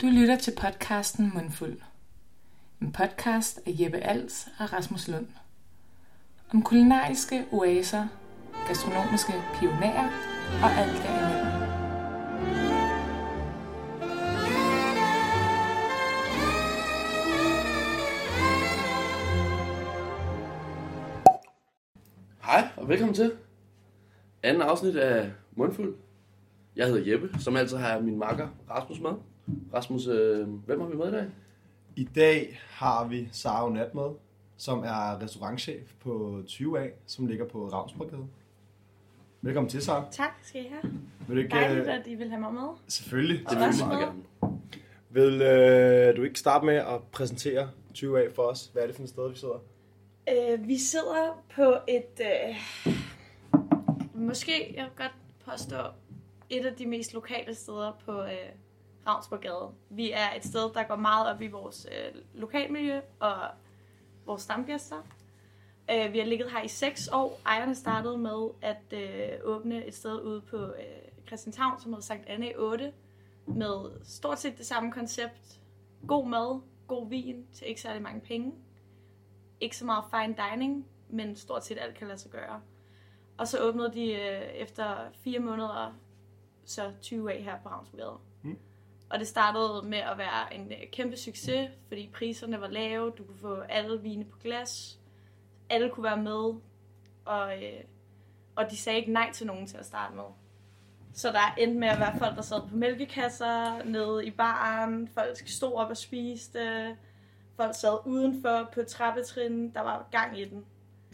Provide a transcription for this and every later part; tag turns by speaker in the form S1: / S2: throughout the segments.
S1: Du lytter til podcasten Mundfuld. En podcast af Jeppe Als og Rasmus Lund. Om kulinariske oaser, gastronomiske pionerer og alt derimellem.
S2: Hej og velkommen til anden afsnit af Mundfuld. Jeg hedder Jeppe, som altid har jeg min makker Rasmus med. Rasmus, øh, hvem har vi med i dag?
S3: I dag har vi Sara Nat med, som er restaurantchef på 20A, som ligger på Ravnsbrogade. Velkommen til, Sara.
S4: Tak skal I have.
S3: Vil du ikke...
S4: Dejligt,
S3: øh,
S4: at I vil have mig med.
S3: Selvfølgelig.
S4: Og
S2: vil vi
S4: også
S2: meget
S4: med.
S2: gerne.
S3: Vil øh, du ikke starte med at præsentere 20A for os? Hvad er det for et sted, vi sidder?
S4: Øh, vi sidder på et, øh, måske jeg vil godt påstå, et af de mest lokale steder på øh, Ravnsborggade. Vi er et sted, der går meget op i vores øh, lokalmiljø og vores stamgæster. Øh, vi har ligget her i seks år. Ejerne startede med at øh, åbne et sted ude på øh, Christianshavn, som hedder Sankt Anne 8, med stort set det samme koncept. God mad, god vin til ikke særlig mange penge ikke så meget fine dining, men stort set alt kan lade sig gøre. Og så åbnede de øh, efter fire måneder så 20 af her på Ravnsbjerg.
S3: Mm.
S4: Mm. Og det startede med at være en øh, kæmpe succes, fordi priserne var lave, du kunne få alle vine på glas, alle kunne være med, og, øh, og de sagde ikke nej til nogen til at starte med. Så der endte med at være folk, der sad på mælkekasser, nede i baren, folk stod op og spiste, Folk sad udenfor på trappetrinnen. Der var gang i den.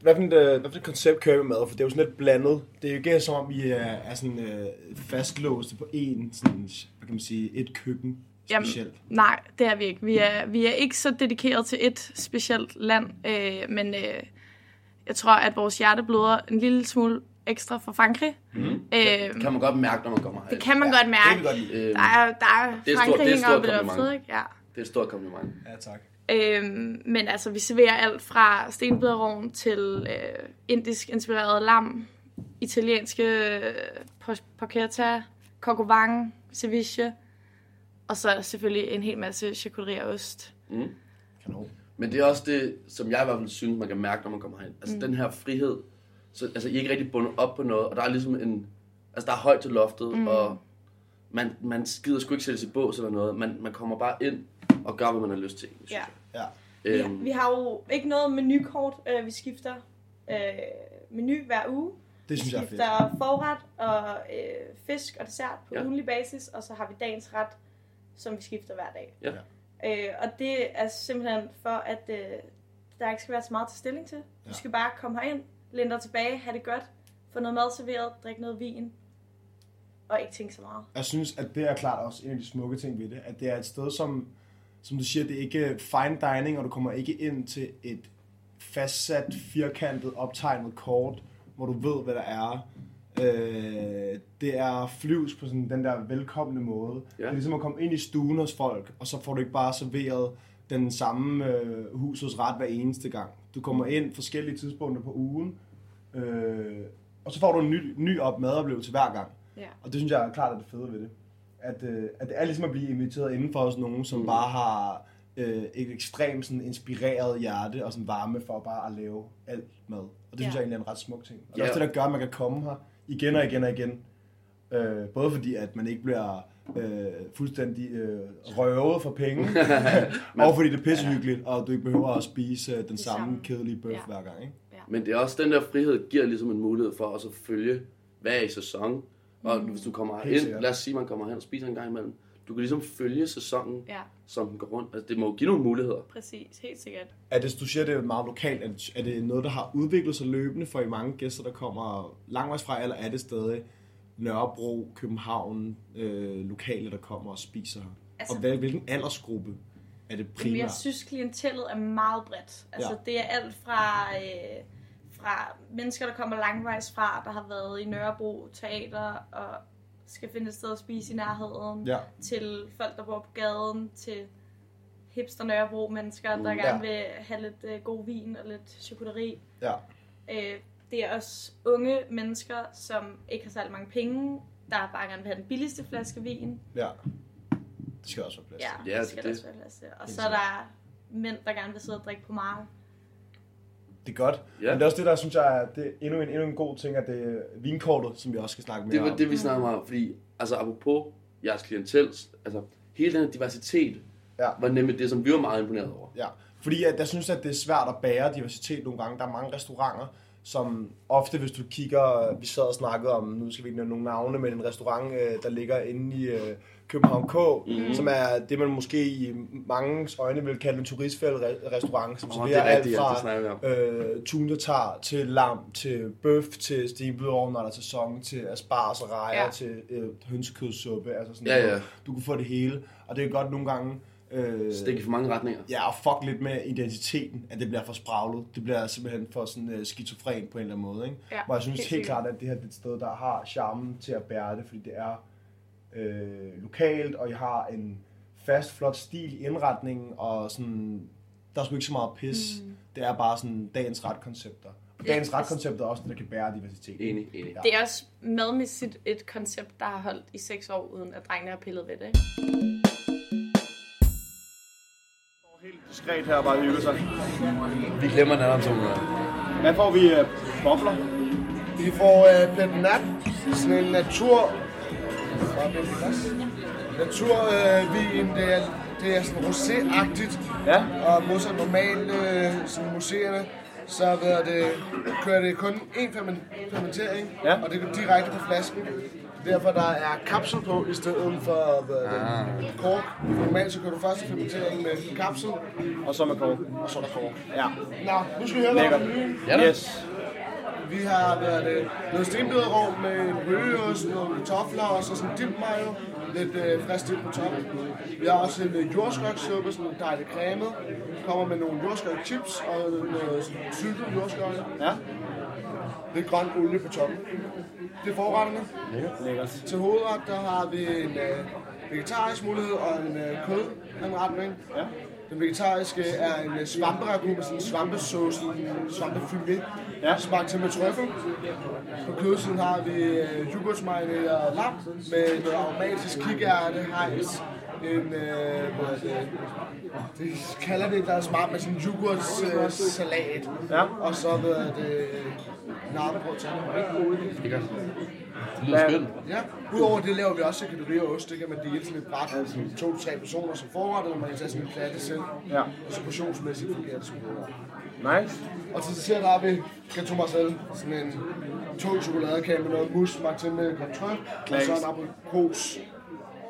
S5: Hvad for, et, øh, hvad for et koncept kører vi med? For det er jo sådan lidt blandet.
S3: Det er jo ikke som om, vi er, er sådan, øh, fastlåste på én, sådan, hvad kan man sige, et køkken
S4: Jamen.
S3: specielt. Jamen.
S4: Nej, det er vi ikke. Vi er, vi er ikke så dedikeret til et specielt land, øh, men øh, jeg tror, at vores hjerte bløder en lille smule ekstra fra Frankrig. Mm. Øh,
S2: Det Mhm. kan man godt mærke, når man kommer her.
S4: det kan man ja, godt mærke.
S3: Det kan vi godt lide.
S2: øh,
S4: Der er, der er,
S2: Det er et stort-
S4: Frankrig
S2: det er et
S4: hænger
S2: stort
S4: op i
S2: kompliment.
S4: loftet, ikke? Ja.
S2: Det er et stort kompliment.
S3: Ja, tak.
S4: Øhm, men altså, vi serverer alt fra stenbiderrogn til øh, indisk inspireret lam, italienske øh, por- porchetta, kokovang, ceviche, og så selvfølgelig en hel masse charcuterie og ost.
S3: Kanon.
S2: Men det er også det, som jeg i hvert fald synes, man kan mærke, når man kommer herind. Altså mm. den her frihed. Så, altså I er ikke rigtig bundet op på noget, og der er ligesom en... Altså der er højt til loftet, mm. og man, man skider sgu ikke sætte sit bås eller noget. Man, man kommer bare ind og gør, hvad man har lyst til. synes jeg.
S3: Ja.
S2: Øhm,
S4: Vi har jo ikke noget menukort, øh, vi skifter øh, menu hver uge.
S3: Det
S4: Vi
S3: synes jeg er fedt.
S4: skifter forret og øh, fisk og dessert på
S2: Ja.
S4: ja. ugenlig basis, og så har vi dagens ret, som vi skifter hver dag.
S2: Ja.
S4: Øh, og det er simpelthen for, at øh, der ikke skal være så meget til stilling til. Du
S3: Ja.
S4: skal bare komme herind, læn dig tilbage, have det godt, få noget mad serveret, drikke noget vin, og ikke tænke så meget.
S5: Jeg synes, at det er klart også en af de smukke ting ved det. At det er et sted, som, som du siger, det er ikke fine dining, og du kommer ikke ind til et fastsat, firkantet, optegnet kort, hvor du ved, hvad der er. Øh, det er flyvs på sådan den der velkomne måde.
S2: Ja.
S5: Ja. Det er ligesom at komme ind i stuen hos folk, og så får du ikke bare serveret den samme øh, husets ret hver eneste gang. Du kommer ind forskellige tidspunkter på ugen, øh, og så får du en ny, ny op madoplevelse hver gang.
S4: Ja.
S5: Og det synes jeg er klart er det fede ved det. At, øh, at det er ligesom at blive inviteret indenfor hos nogen, som mm. bare har øh, et ekstremt sådan, inspireret hjerte og sådan varme for bare at lave alt mad. Og det ja. synes
S4: Ja.
S5: jeg egentlig er en ret smuk ting. Og det
S2: Ja.
S5: er også det, der gør, at man kan komme her igen og igen og igen. Øh, både fordi, at man ikke bliver øh, fuldstændig øh, røvet for penge, og fordi det er pissehyggeligt, og du ikke behøver at spise øh, den samme
S4: samme.
S5: kedelige bøf
S4: Ja.
S5: ja. hver gang. Ikke?
S2: Men det er også den der frihed, giver ligesom en mulighed for også at følge, hvad er i sæson. Og mm. hvis du kommer
S5: Helt
S2: ind,
S5: sikkert.
S2: lad os sige, man kommer hen og spiser en gang imellem. Du kan ligesom følge sæsonen,
S4: Ja,
S2: som den går rundt. Altså, det må jo give nogle muligheder.
S4: præcis. Helt sikkert.
S5: Er det, du siger, det er meget lokalt, er det, er det noget, der har udviklet sig løbende for i mange gæster, der kommer langvejs fra, eller er det stadig Nørrebro, København, øh, lokale, der kommer og spiser her?
S4: Altså-
S5: Altså, og hvad, hvilken aldersgruppe er det
S4: Primært.
S5: primært?
S4: Jeg synes, klientellet er meget bredt. Altså, ja. det er alt fra, øh, fra mennesker, der kommer langvejs fra, der har været i Nørrebro Teater og skal finde et sted at spise i nærheden,
S5: Ja.
S4: til folk, der bor på gaden, til hipster Nørrebro mennesker, der
S2: Mm,
S4: gerne vil have lidt øh, god vin og lidt chokolade.
S5: Ja.
S4: Øh, det er også unge mennesker, som ikke har særlig mange penge, der bare gerne vil have den billigste flaske vin.
S5: Ja. Det skal der også være plads
S4: Ja,
S5: til.
S2: Ja,
S4: det skal
S2: det-
S4: det, også være plads til. Og så er der mænd, der gerne vil sidde og drikke på marken.
S5: Det er godt.
S2: Ja.
S5: Ja. Men det er også det, der synes jeg, er- det er endnu en, endnu en god ting, at det er vinkortet, som vi også skal snakke mere
S2: Det
S5: om.
S2: var det, vi snakkede meget om, fordi altså apropos jeres klientels, altså hele den her diversitet,
S5: Ja.
S2: var nemlig det, som vi var meget imponeret over.
S5: Ja, fordi at jeg synes, at det er svært at bære diversitet nogle gange. Der er mange restauranter, som ofte, hvis du kigger, vi sad og snakkede om, nu skal vi ikke nævne nogle navne, men en restaurant, øh, der ligger inde i øh, København K,
S2: Mhm.
S5: mm-hmm. som er det, man måske i mange øjne vil kalde en turistfælderestaurant, som
S2: Åh,
S5: oh,
S2: det er
S5: serverer
S2: rigtigt,
S5: alt
S2: ja, det
S5: fra
S2: snakker vi
S5: øh, tunetatar til lam, til bøf, til stenbødovn, når der er sæson, til asparges og rejer,
S4: Ja.
S5: ja. til øh, hønsekødssuppe, altså sådan
S2: Ja,
S5: noget.
S2: ja.
S5: Du kan få det hele, og det er godt nogle gange... Øh,
S2: Stik i for mange retninger.
S5: Ja, og fuck lidt med identiteten, at det bliver for spraglet. Det bliver simpelthen for sådan uh, skizofren på en eller anden måde, ikke?
S4: Ja,
S5: Hvor jeg synes helt,
S4: helt sikkert.
S5: helt klart, at det her det er et sted, der har charmen til at bære det, fordi det er øh, lokalt, og I har en fast, flot stil i indretningen, og sådan, der er sgu ikke så meget pis. Mm. Det er bare sådan dagens retkoncepter. Og
S4: Ja,
S5: dagens
S4: altså-
S5: retkoncepter er også det, der kan bære diversitet.
S2: Enig, enig.
S5: Ja.
S4: Det er også madmæssigt et koncept, der har holdt i seks år, uden at drengene har pillet ved det.
S5: Diskret her bare hygge sig.
S2: Vi glemmer den anden toner.
S5: Hvad får vi? Uh, bobler?
S6: Vi får øh, den nat, sådan en natur... Naturvin, øh, det, er, det er sådan rosé-agtigt,
S5: Ja.
S6: og modsat normalt øh, som museerne, så ved det, kører det kun én fermen- fermentering,
S5: Ja.
S6: og det går direkte på flasken. Derfor der er kapsel på i stedet for hvad ah. kork. Normalt så kører du først fermentering med kapsel,
S5: Og så med kog.
S6: og så er der kork.
S5: Ja.
S6: Nå, nu skal vi høre noget om menuen.
S2: Ja da.
S5: Yes.
S6: Vi har været det, noget stenbiderrov med røgeost, nogle kartofler og så sådan dipmayo. Lidt øh, frisk dip på toppen. Vi har også en øh, jordskogssuppe, sådan en dejlig cremet. Kommer med nogle jordskogschips og noget øh, sådan syltet jordskog.
S5: Ja.
S6: Lidt grøn olie på toppen. Det er forretterne.
S5: Lækkert.
S6: Til hovedret, der har vi en øh, vegetarisk mulighed og en øh, kødanretning.
S5: Ja.
S6: Den vegetariske er en øh, svamperagu med sådan en svampesauce, sådan en svampefumé,
S5: Ja.
S6: smagt til med trøffel. På kødsiden har vi øh, yoghurtsmarineret lam med noget aromatisk kikærte, hejs, en, øh, hvad er det, det kalder det, der er smart med sådan en yoghurtsalat, øh, salat.
S5: Ja.
S6: og så hvad er det, narmebrød til.
S2: Det lyder skønt.
S6: Ja, udover det laver vi også kategorier og ost, det kan man dele sådan et bræt, sådan to til tre personer som forret, eller man kan tage sådan en platte selv.
S5: Ja.
S6: Og så portionsmæssigt fungerer det som bedre.
S5: Nice.
S6: Og til sidst har vi Gato Marcel, sådan en tung chokoladekage med noget mus, smagt til med kontrol, og så en aprikos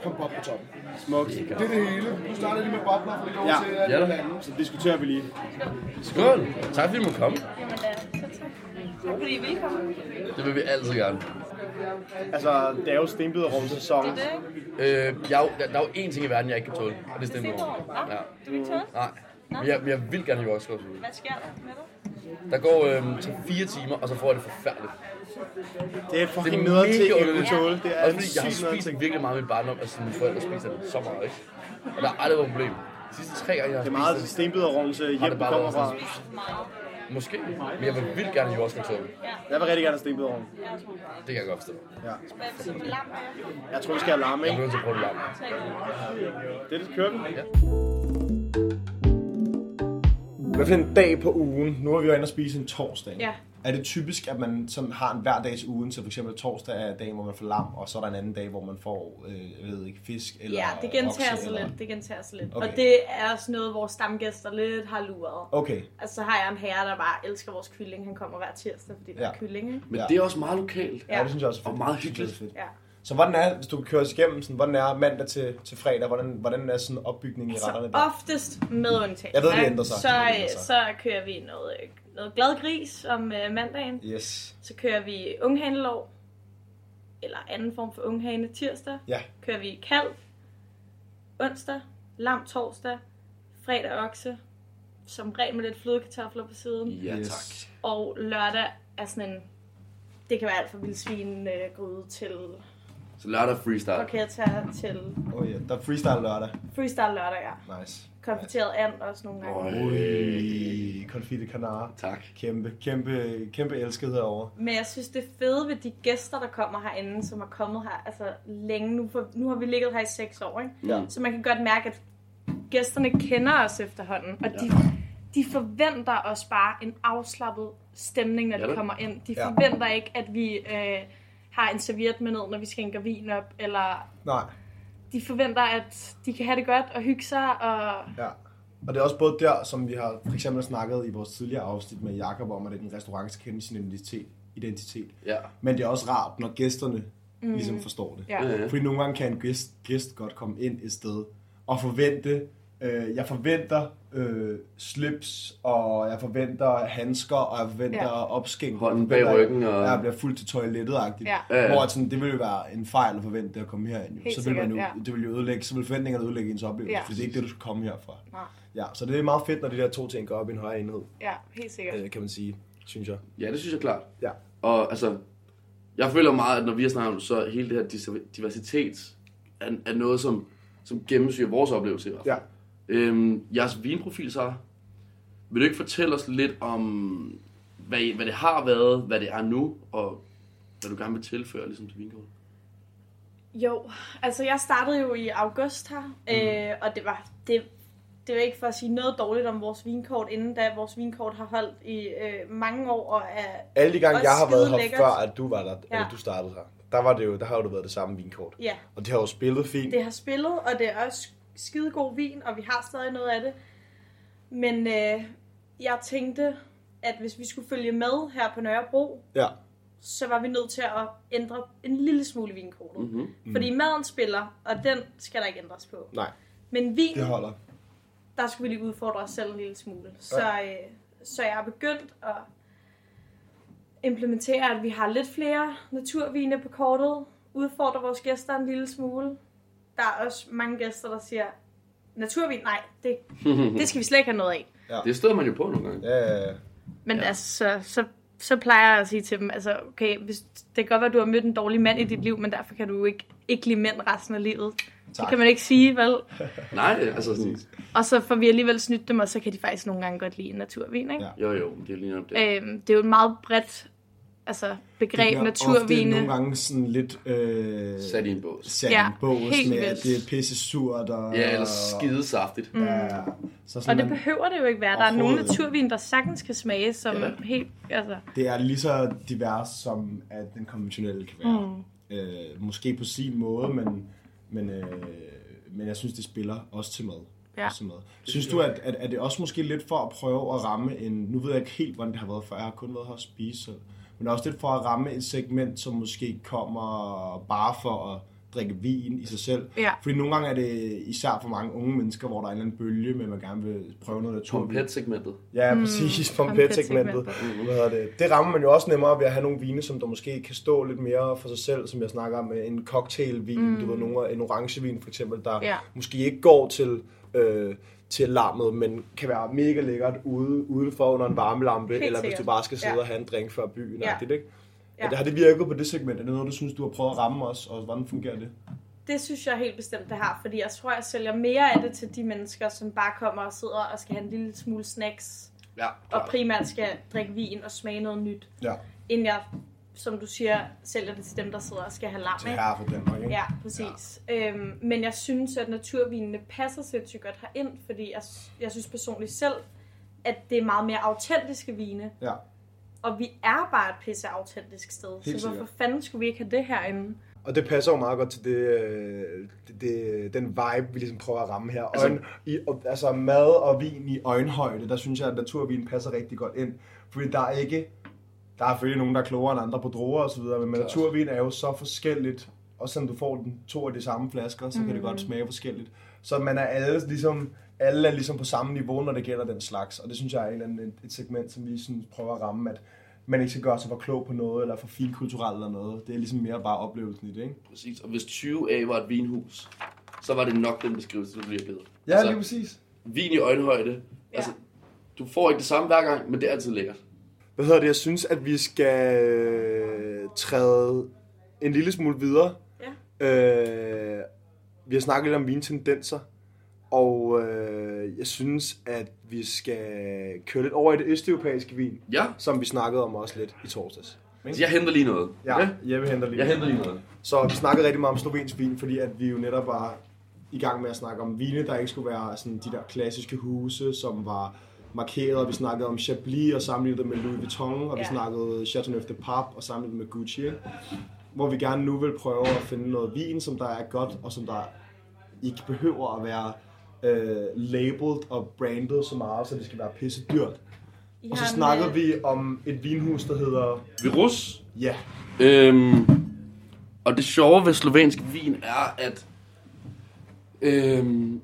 S6: kompot på toppen.
S5: Smukt.
S6: Det er det hele. Nu starter jeg lige med bobler, for det går
S5: Ja.
S6: til at
S2: Ja da.
S6: det andet.
S5: Så diskuterer vi lige.
S2: Skål! Tak fordi du måtte komme.
S4: Jamen da, så tak. Tak fordi I ville komme.
S2: Det vil vi altid gerne.
S5: Altså, det er jo stenbiderrum sæson.
S4: Det er det.
S2: Øh, jeg, er jo- der, der er jo én ting i verden, jeg ikke kan tåle. og Det stemmer.
S4: Ja.
S2: Ja.
S4: Du vil ikke tåle?
S2: Nej. Men jeg, men jeg vil gerne have jordskål.
S4: Hvad sker der med dig?
S2: Der går øhm, til fire timer, og så får jeg det forfærdeligt.
S5: Det er
S2: Det er
S5: fucking
S2: mega
S5: noget ting, jeg vil
S2: underligt.
S5: tåle. Det er
S2: Også
S5: en
S2: fordi jeg har
S5: sygt noget
S2: spist
S5: ting.
S2: virkelig meget i min barndom, altså mine forældre spiser det så meget, ikke? Og der har aldrig været et problem. De sidste tre gange, jeg har
S5: Det er
S2: spist
S5: meget
S2: det,
S5: stenbiderrum til
S2: har
S5: hjem,
S2: det
S5: du
S2: bare
S5: kommer
S2: været
S5: fra.
S2: sådan, måske, men jeg vil vildt gerne have jordskål
S5: Jeg vil rigtig gerne have stenbiderrum.
S2: Det kan jeg godt forstå.
S4: Hvad er det med lam?
S5: Jeg tror, vi skal have larme,
S2: Jeg er
S5: ikke?
S2: nødt til at prøve det langt.
S5: Det er det, kører vi.
S2: Ja.
S5: Hvad for en dag på ugen? Nu er vi jo inde og spise en torsdag.
S4: Ja.
S5: Er det typisk, at man sådan har en hverdags ugen, så for eksempel torsdag er dagen, hvor man får lam, og så er der en anden dag, hvor man får, øh, jeg ved ikke, fisk eller
S4: Ja, det gentager
S5: okse
S4: sig
S5: eller-
S4: lidt. Det gentager sig lidt.
S5: Okay.
S4: Og det er også noget, vores stamgæster lidt har luret.
S5: Okay,
S4: Altså, så har jeg en herre, der bare elsker vores kylling. Han kommer hver tirsdag, fordi der er
S5: Ja.
S4: kylling, ikke?
S2: Men
S5: Ja.
S2: det er også meget lokalt.
S5: ja.
S4: Ja.
S5: det synes jeg også er fedt.
S2: Og meget
S5: Det synes jeg
S2: hyggeligt.
S5: også er fedt.
S4: Ja.
S5: Så hvordan er, hvis du kan køre os igennem, sådan, hvordan er mandag til, til fredag, hvordan, hvordan er sådan opbygningen i retterne
S4: Så
S5: der?
S4: oftest med undtagelse.
S5: Jeg ved, det
S4: ikke?
S5: ændrer sig.
S4: Så,
S5: Det ændrer
S4: øh,
S5: sig.
S4: så kører vi noget, øh, noget glad gris om øh, mandagen.
S5: Yes.
S4: Så kører vi unghanelov, eller anden form for unghane tirsdag.
S5: Ja,
S4: Kører vi kalv, onsdag, lam torsdag, fredag okse, som regel med lidt flødekartofler på siden.
S2: Ja,
S5: Yes.
S2: tak.
S4: Og lørdag er sådan en, det kan være alt fra vildsvin øh, gryde til
S2: Så lørdag freestyle.
S4: Okay, jeg tager til
S3: Oh, yeah. Der er freestyle lørdag.
S4: freestyle lørdag, ja.
S3: Nice.
S4: Konfiteret and også nogle gange.
S2: Øj,
S3: Ui, Confit Canara.
S2: tak.
S3: Kæmpe, kæmpe, kæmpe elsket herovre.
S4: Men jeg synes, det fede ved de gæster, der kommer herinde, som er kommet her altså længe nu, for nu har vi ligget her i seks år, ikke?
S2: Ja.
S4: så man kan godt mærke, at gæsterne kender os efterhånden, og de, de forventer os bare en afslappet stemning, når
S2: Ja,
S4: de
S2: det.
S4: kommer ind. De
S3: Ja.
S4: forventer ikke, at vi øh, har en serviet med ned, når vi skænker vin op, eller
S3: Nej,
S4: de forventer, at de kan have det godt og hygge sig, og
S3: ja.
S5: Og det er også både der, som vi har for eksempel snakket i vores tidligere afsnit med Jakob om, at en restaurant skal kende sin identitet. identitet.
S2: Ja.
S5: Men det er også rart, når gæsterne mm. ligesom forstår det.
S4: ja.
S2: Ja, ja.
S5: Fordi nogle gange kan en gæst, gæst godt komme ind et sted og forvente, øh, jeg forventer øh, slips, og jeg forventer handsker, og jeg forventer
S4: Ja.
S5: ja. opskæng.
S2: Hånden bag ryggen, og-
S5: Jeg bliver fuldt til toilettet-agtigt.
S4: Ja.
S2: Ja, ja.
S5: Hvor at sådan, det ville jo være en fejl at forvente at komme herind. Jo.
S4: Helt
S5: så vil man jo,
S4: sikkert, ja.
S5: det ville jo ødelægge, så vil forventningerne ødelægge ens oplevelse,
S4: Ja.
S5: ja. fordi det er ikke det, du skal komme herfra.
S4: Nej.
S5: Ja, så det er meget fedt, når de der to ting går op i en højere enhed,
S4: ja helt sikkert.
S5: øh, kan man sige, synes jeg.
S2: ja, det synes jeg klart.
S5: Ja.
S2: Og altså, jeg føler meget, at når vi har snakket om det, så hele det her dis- diversitet er, er noget, som, som gennemsyrer vores oplevelse i hvert fald.
S5: Ja.
S2: Øhm, jeres vinprofil, så vil du ikke fortælle os lidt om, hvad, I- hvad det har været, hvad det er nu, og hvad du gerne vil tilføre ligesom, til vinkortet?
S4: Jo, altså jeg startede jo i august her, øh, og det var, det, det var ikke for at sige noget dårligt om vores vinkort, inden da vores vinkort har holdt i øh, mange år og er
S3: Alle de gange,
S4: Også
S3: jeg har været
S4: skide
S3: her
S4: lækkert.
S3: før, at du var der, ja.
S4: Ja.
S3: eller du startede her, der, var det jo, der har jo det været det samme vinkort.
S4: Ja,
S3: Og det har jo spillet fint.
S4: det har spillet, og det er også skide god vin, og vi har stadig noget af det. Men øh, jeg tænkte, at hvis vi skulle følge med her på Nørrebro,
S3: Ja.
S4: så var vi nødt til at ændre en lille smule vinkortet. Mm-hmm.
S2: Mm-hmm.
S4: Fordi maden spiller, og den skal der ikke ændres på.
S3: Nej.
S4: Men vin,
S3: Det holder.
S4: der skulle vi lige udfordre os selv en lille smule. Så, øh, så jeg er begyndt at implementere, at vi har lidt flere naturvine på kortet, udfordre vores gæster en lille smule. Der er også mange gæster, der siger, naturvin, nej, det, det skal vi slet ikke have noget af.
S2: Det støder man jo på nogle gange.
S3: Ja, ja, ja.
S4: Men ja. altså, så, så, så plejer jeg at sige til dem, altså, okay, hvis, det kan godt være, at du har mødt en dårlig mand i dit liv, men derfor kan du jo ikke, ikke lide mænd resten af livet. Tak. Det kan man ikke sige, vel?
S2: Nej, altså sådan,
S4: Og så får vi alligevel snydt dem, og så kan de faktisk nogle gange godt lide en naturvin, ikke?
S5: Ja.
S2: jo jo, det er lige nok det.
S4: Øhm, det er jo et meget bredt altså, begreb,
S5: bliver Ofte
S4: naturvine.
S5: nogle gange sådan lidt øh,
S2: Sat i en bås.
S5: sat
S4: Ja,
S5: ja, en bås
S4: helt
S5: med, at
S4: vildt.
S5: det er pisse surt. Og,
S2: Ja, eller skidesaftigt. Mm.
S5: Ja, så
S4: Og
S5: sådan,
S4: det
S5: man,
S4: behøver det jo ikke være. Der er nogle
S5: Overhovedet ikke.
S4: naturvin, der sagtens kan smage som
S2: Ja.
S4: helt... Altså,
S5: det er lige så divers, som at den konventionelle kan være. Mm. Øh, måske på sin måde, men, men, øh, men jeg synes, det spiller også til mad.
S4: Ja.
S5: Også til mad. Synes du, at, at, at det også måske lidt for at prøve at ramme en... Nu ved jeg ikke helt, hvordan det har været før. Jeg har kun været her og spise. Så, men også lidt for at ramme et segment, som måske kommer bare for at drikke vin i sig selv.
S4: Ja.
S5: Fordi nogle gange er det især for mange unge mennesker, hvor der er en eller anden bølge, men man gerne vil prøve noget naturvin.
S2: Trompet-segmentet.
S4: Mm,
S3: Ja, præcis. Pompet-segmentet. Mm, Hvad hedder det? Det rammer man jo også nemmere ved at have nogle vine, som der måske kan stå lidt mere for sig selv, som jeg snakker om. En cocktailvin, mm. du ved, nogle, en orangevin for eksempel, der
S4: Ja.
S3: ja. måske ikke går til, øh, til larmet, men kan være mega lækkert ude, udenfor under en varmelampe,
S4: Helt
S3: eller hvis
S4: sikkert.
S3: du bare skal sidde
S4: Ja.
S3: ja. og have en drink før byen.
S4: Ja.
S3: Ja. Agtigt, ikke?
S4: Ja.
S3: Ja. Har det virket på det segment? Er det noget, du synes, du har prøvet at ramme os, og hvordan fungerer det?
S4: det synes jeg helt bestemt, det har. Fordi jeg tror, jeg sælger mere af det til de mennesker, som bare kommer og sidder og skal have en lille smule snacks.
S2: Ja,
S4: Og primært skal drikke vin og smage noget nyt.
S5: Ja.
S4: Inden jeg, som du siger, sælger det til dem, der sidder og skal have lam.
S5: Til
S4: ikke?
S5: herre for Danmark, ikke?
S4: Ja, præcis. Ja. Øhm, men jeg synes, at naturvinene passer sindssygt godt herind, fordi jeg, jeg synes personligt selv, at det er meget mere autentiske vine.
S5: Ja.
S4: Og vi er bare et pisse autentisk sted, Helt så
S5: sikkert.
S4: hvorfor fanden skulle vi ikke have det herinde?
S3: Og det passer jo meget godt til det, øh, det, det, den vibe, vi ligesom prøver at ramme her.
S2: Altså-
S3: Altså, Øjen, i, og- altså
S5: altså mad og vin i øjenhøjde, der synes jeg, at naturvin passer rigtig godt ind. Fordi der er ikke... Der er selvfølgelig nogen, der er klogere end andre på droger osv., men med naturvin er jo så forskelligt. Og selvom du får den to af de samme flasker, så mm. kan det godt smage forskelligt. Så man er alle ligesom... Alle er ligesom på samme niveau, når det gælder den slags. Og det synes jeg er en eller anden, et segment, som vi sådan prøver at ramme, at man ikke skal gøre sig for klog på noget, eller for finkulturelt eller noget. Det er ligesom mere bare oplevelsen i det, ikke?
S2: Præcis, og hvis 20 A var et vinhus, så var det nok den beskrivelse, du lige har givet.
S5: Ja, altså, lige præcis.
S2: vin i øjenhøjde.
S4: Ja.
S2: Ja. Altså, du får ikke det samme hver gang, men det er altid lækkert.
S3: Hvad hedder det? Jeg synes, at vi skal øh, træde en lille smule videre
S4: Ja.
S5: Øh, vi har snakket lidt om vintendenser, og øh, jeg synes, at vi skal køre lidt over i det østeuropæiske vin,
S2: Ja,
S5: som vi snakkede om også lidt i torsdags.
S2: så jeg henter lige noget.
S5: Ja,
S2: Okay?
S5: Jeppe henter lige.
S2: Jeg henter lige noget.
S5: Så vi snakkede rigtig meget om slovensk vin, fordi at vi jo netop var i gang med at snakke om vine, der ikke skulle være sådan de der klassiske huse, som var markeret, og vi snakkede om Chablis og sammenlignede det med Louis Vuitton, og vi
S4: Ja.
S5: snakkede Chateauneuf de Pape og sammenlignede det med Gucci, ikke? hvor vi gerne nu vil prøve at finde noget vin, som der er godt, og som der ikke behøver at være øh, labeled og brandet så meget, så det skal være pisse dyrt.
S4: I
S5: Og så
S4: har en,
S5: snakkede
S4: øh,
S5: vi om et vinhus, der hedder...
S2: Virus.
S5: Ja, yeah,
S2: Øhm, og det sjove ved slovensk vin er, at øhm,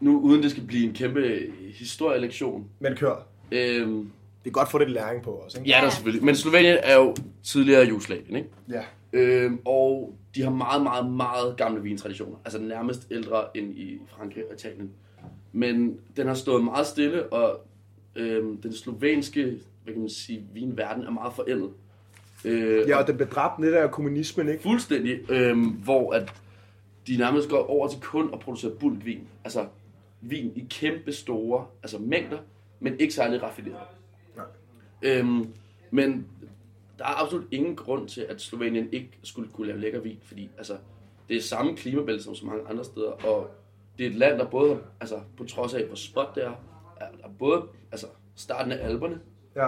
S2: nu uden det skal blive en kæmpe historielektion,
S5: men kør.
S2: øhm,
S5: Det er godt at få lidt læring på også, ikke?
S2: ja, der er selvfølgelig. Men Slovenien er jo tidligere Jugoslavien, ikke?
S5: Ja.
S2: Øhm, og de har meget, meget, meget gamle vintraditioner. Altså nærmest ældre end i Frankrig og Italien. Men den har stået meget stille, og øhm, den slovenske hvad kan man sige, vinverden er meget forældet. Øh,
S5: Ja, og den blev dræbt lidt af kommunismen, ikke?
S2: Fuldstændig, øhm, hvor at de nærmest går over til kun at producere bulkvin. Altså vin i kæmpe store altså mængder, men ikke særlig raffineret.
S5: Nej.
S2: Øhm, men der er absolut ingen grund til, at Slovenien ikke skulle kunne lave lækker vin, fordi altså, det er samme klimabælte som så mange andre steder, og det er et land, der både, altså, på trods af hvor spot det er, er er både altså, starten af alberne,
S5: Ja.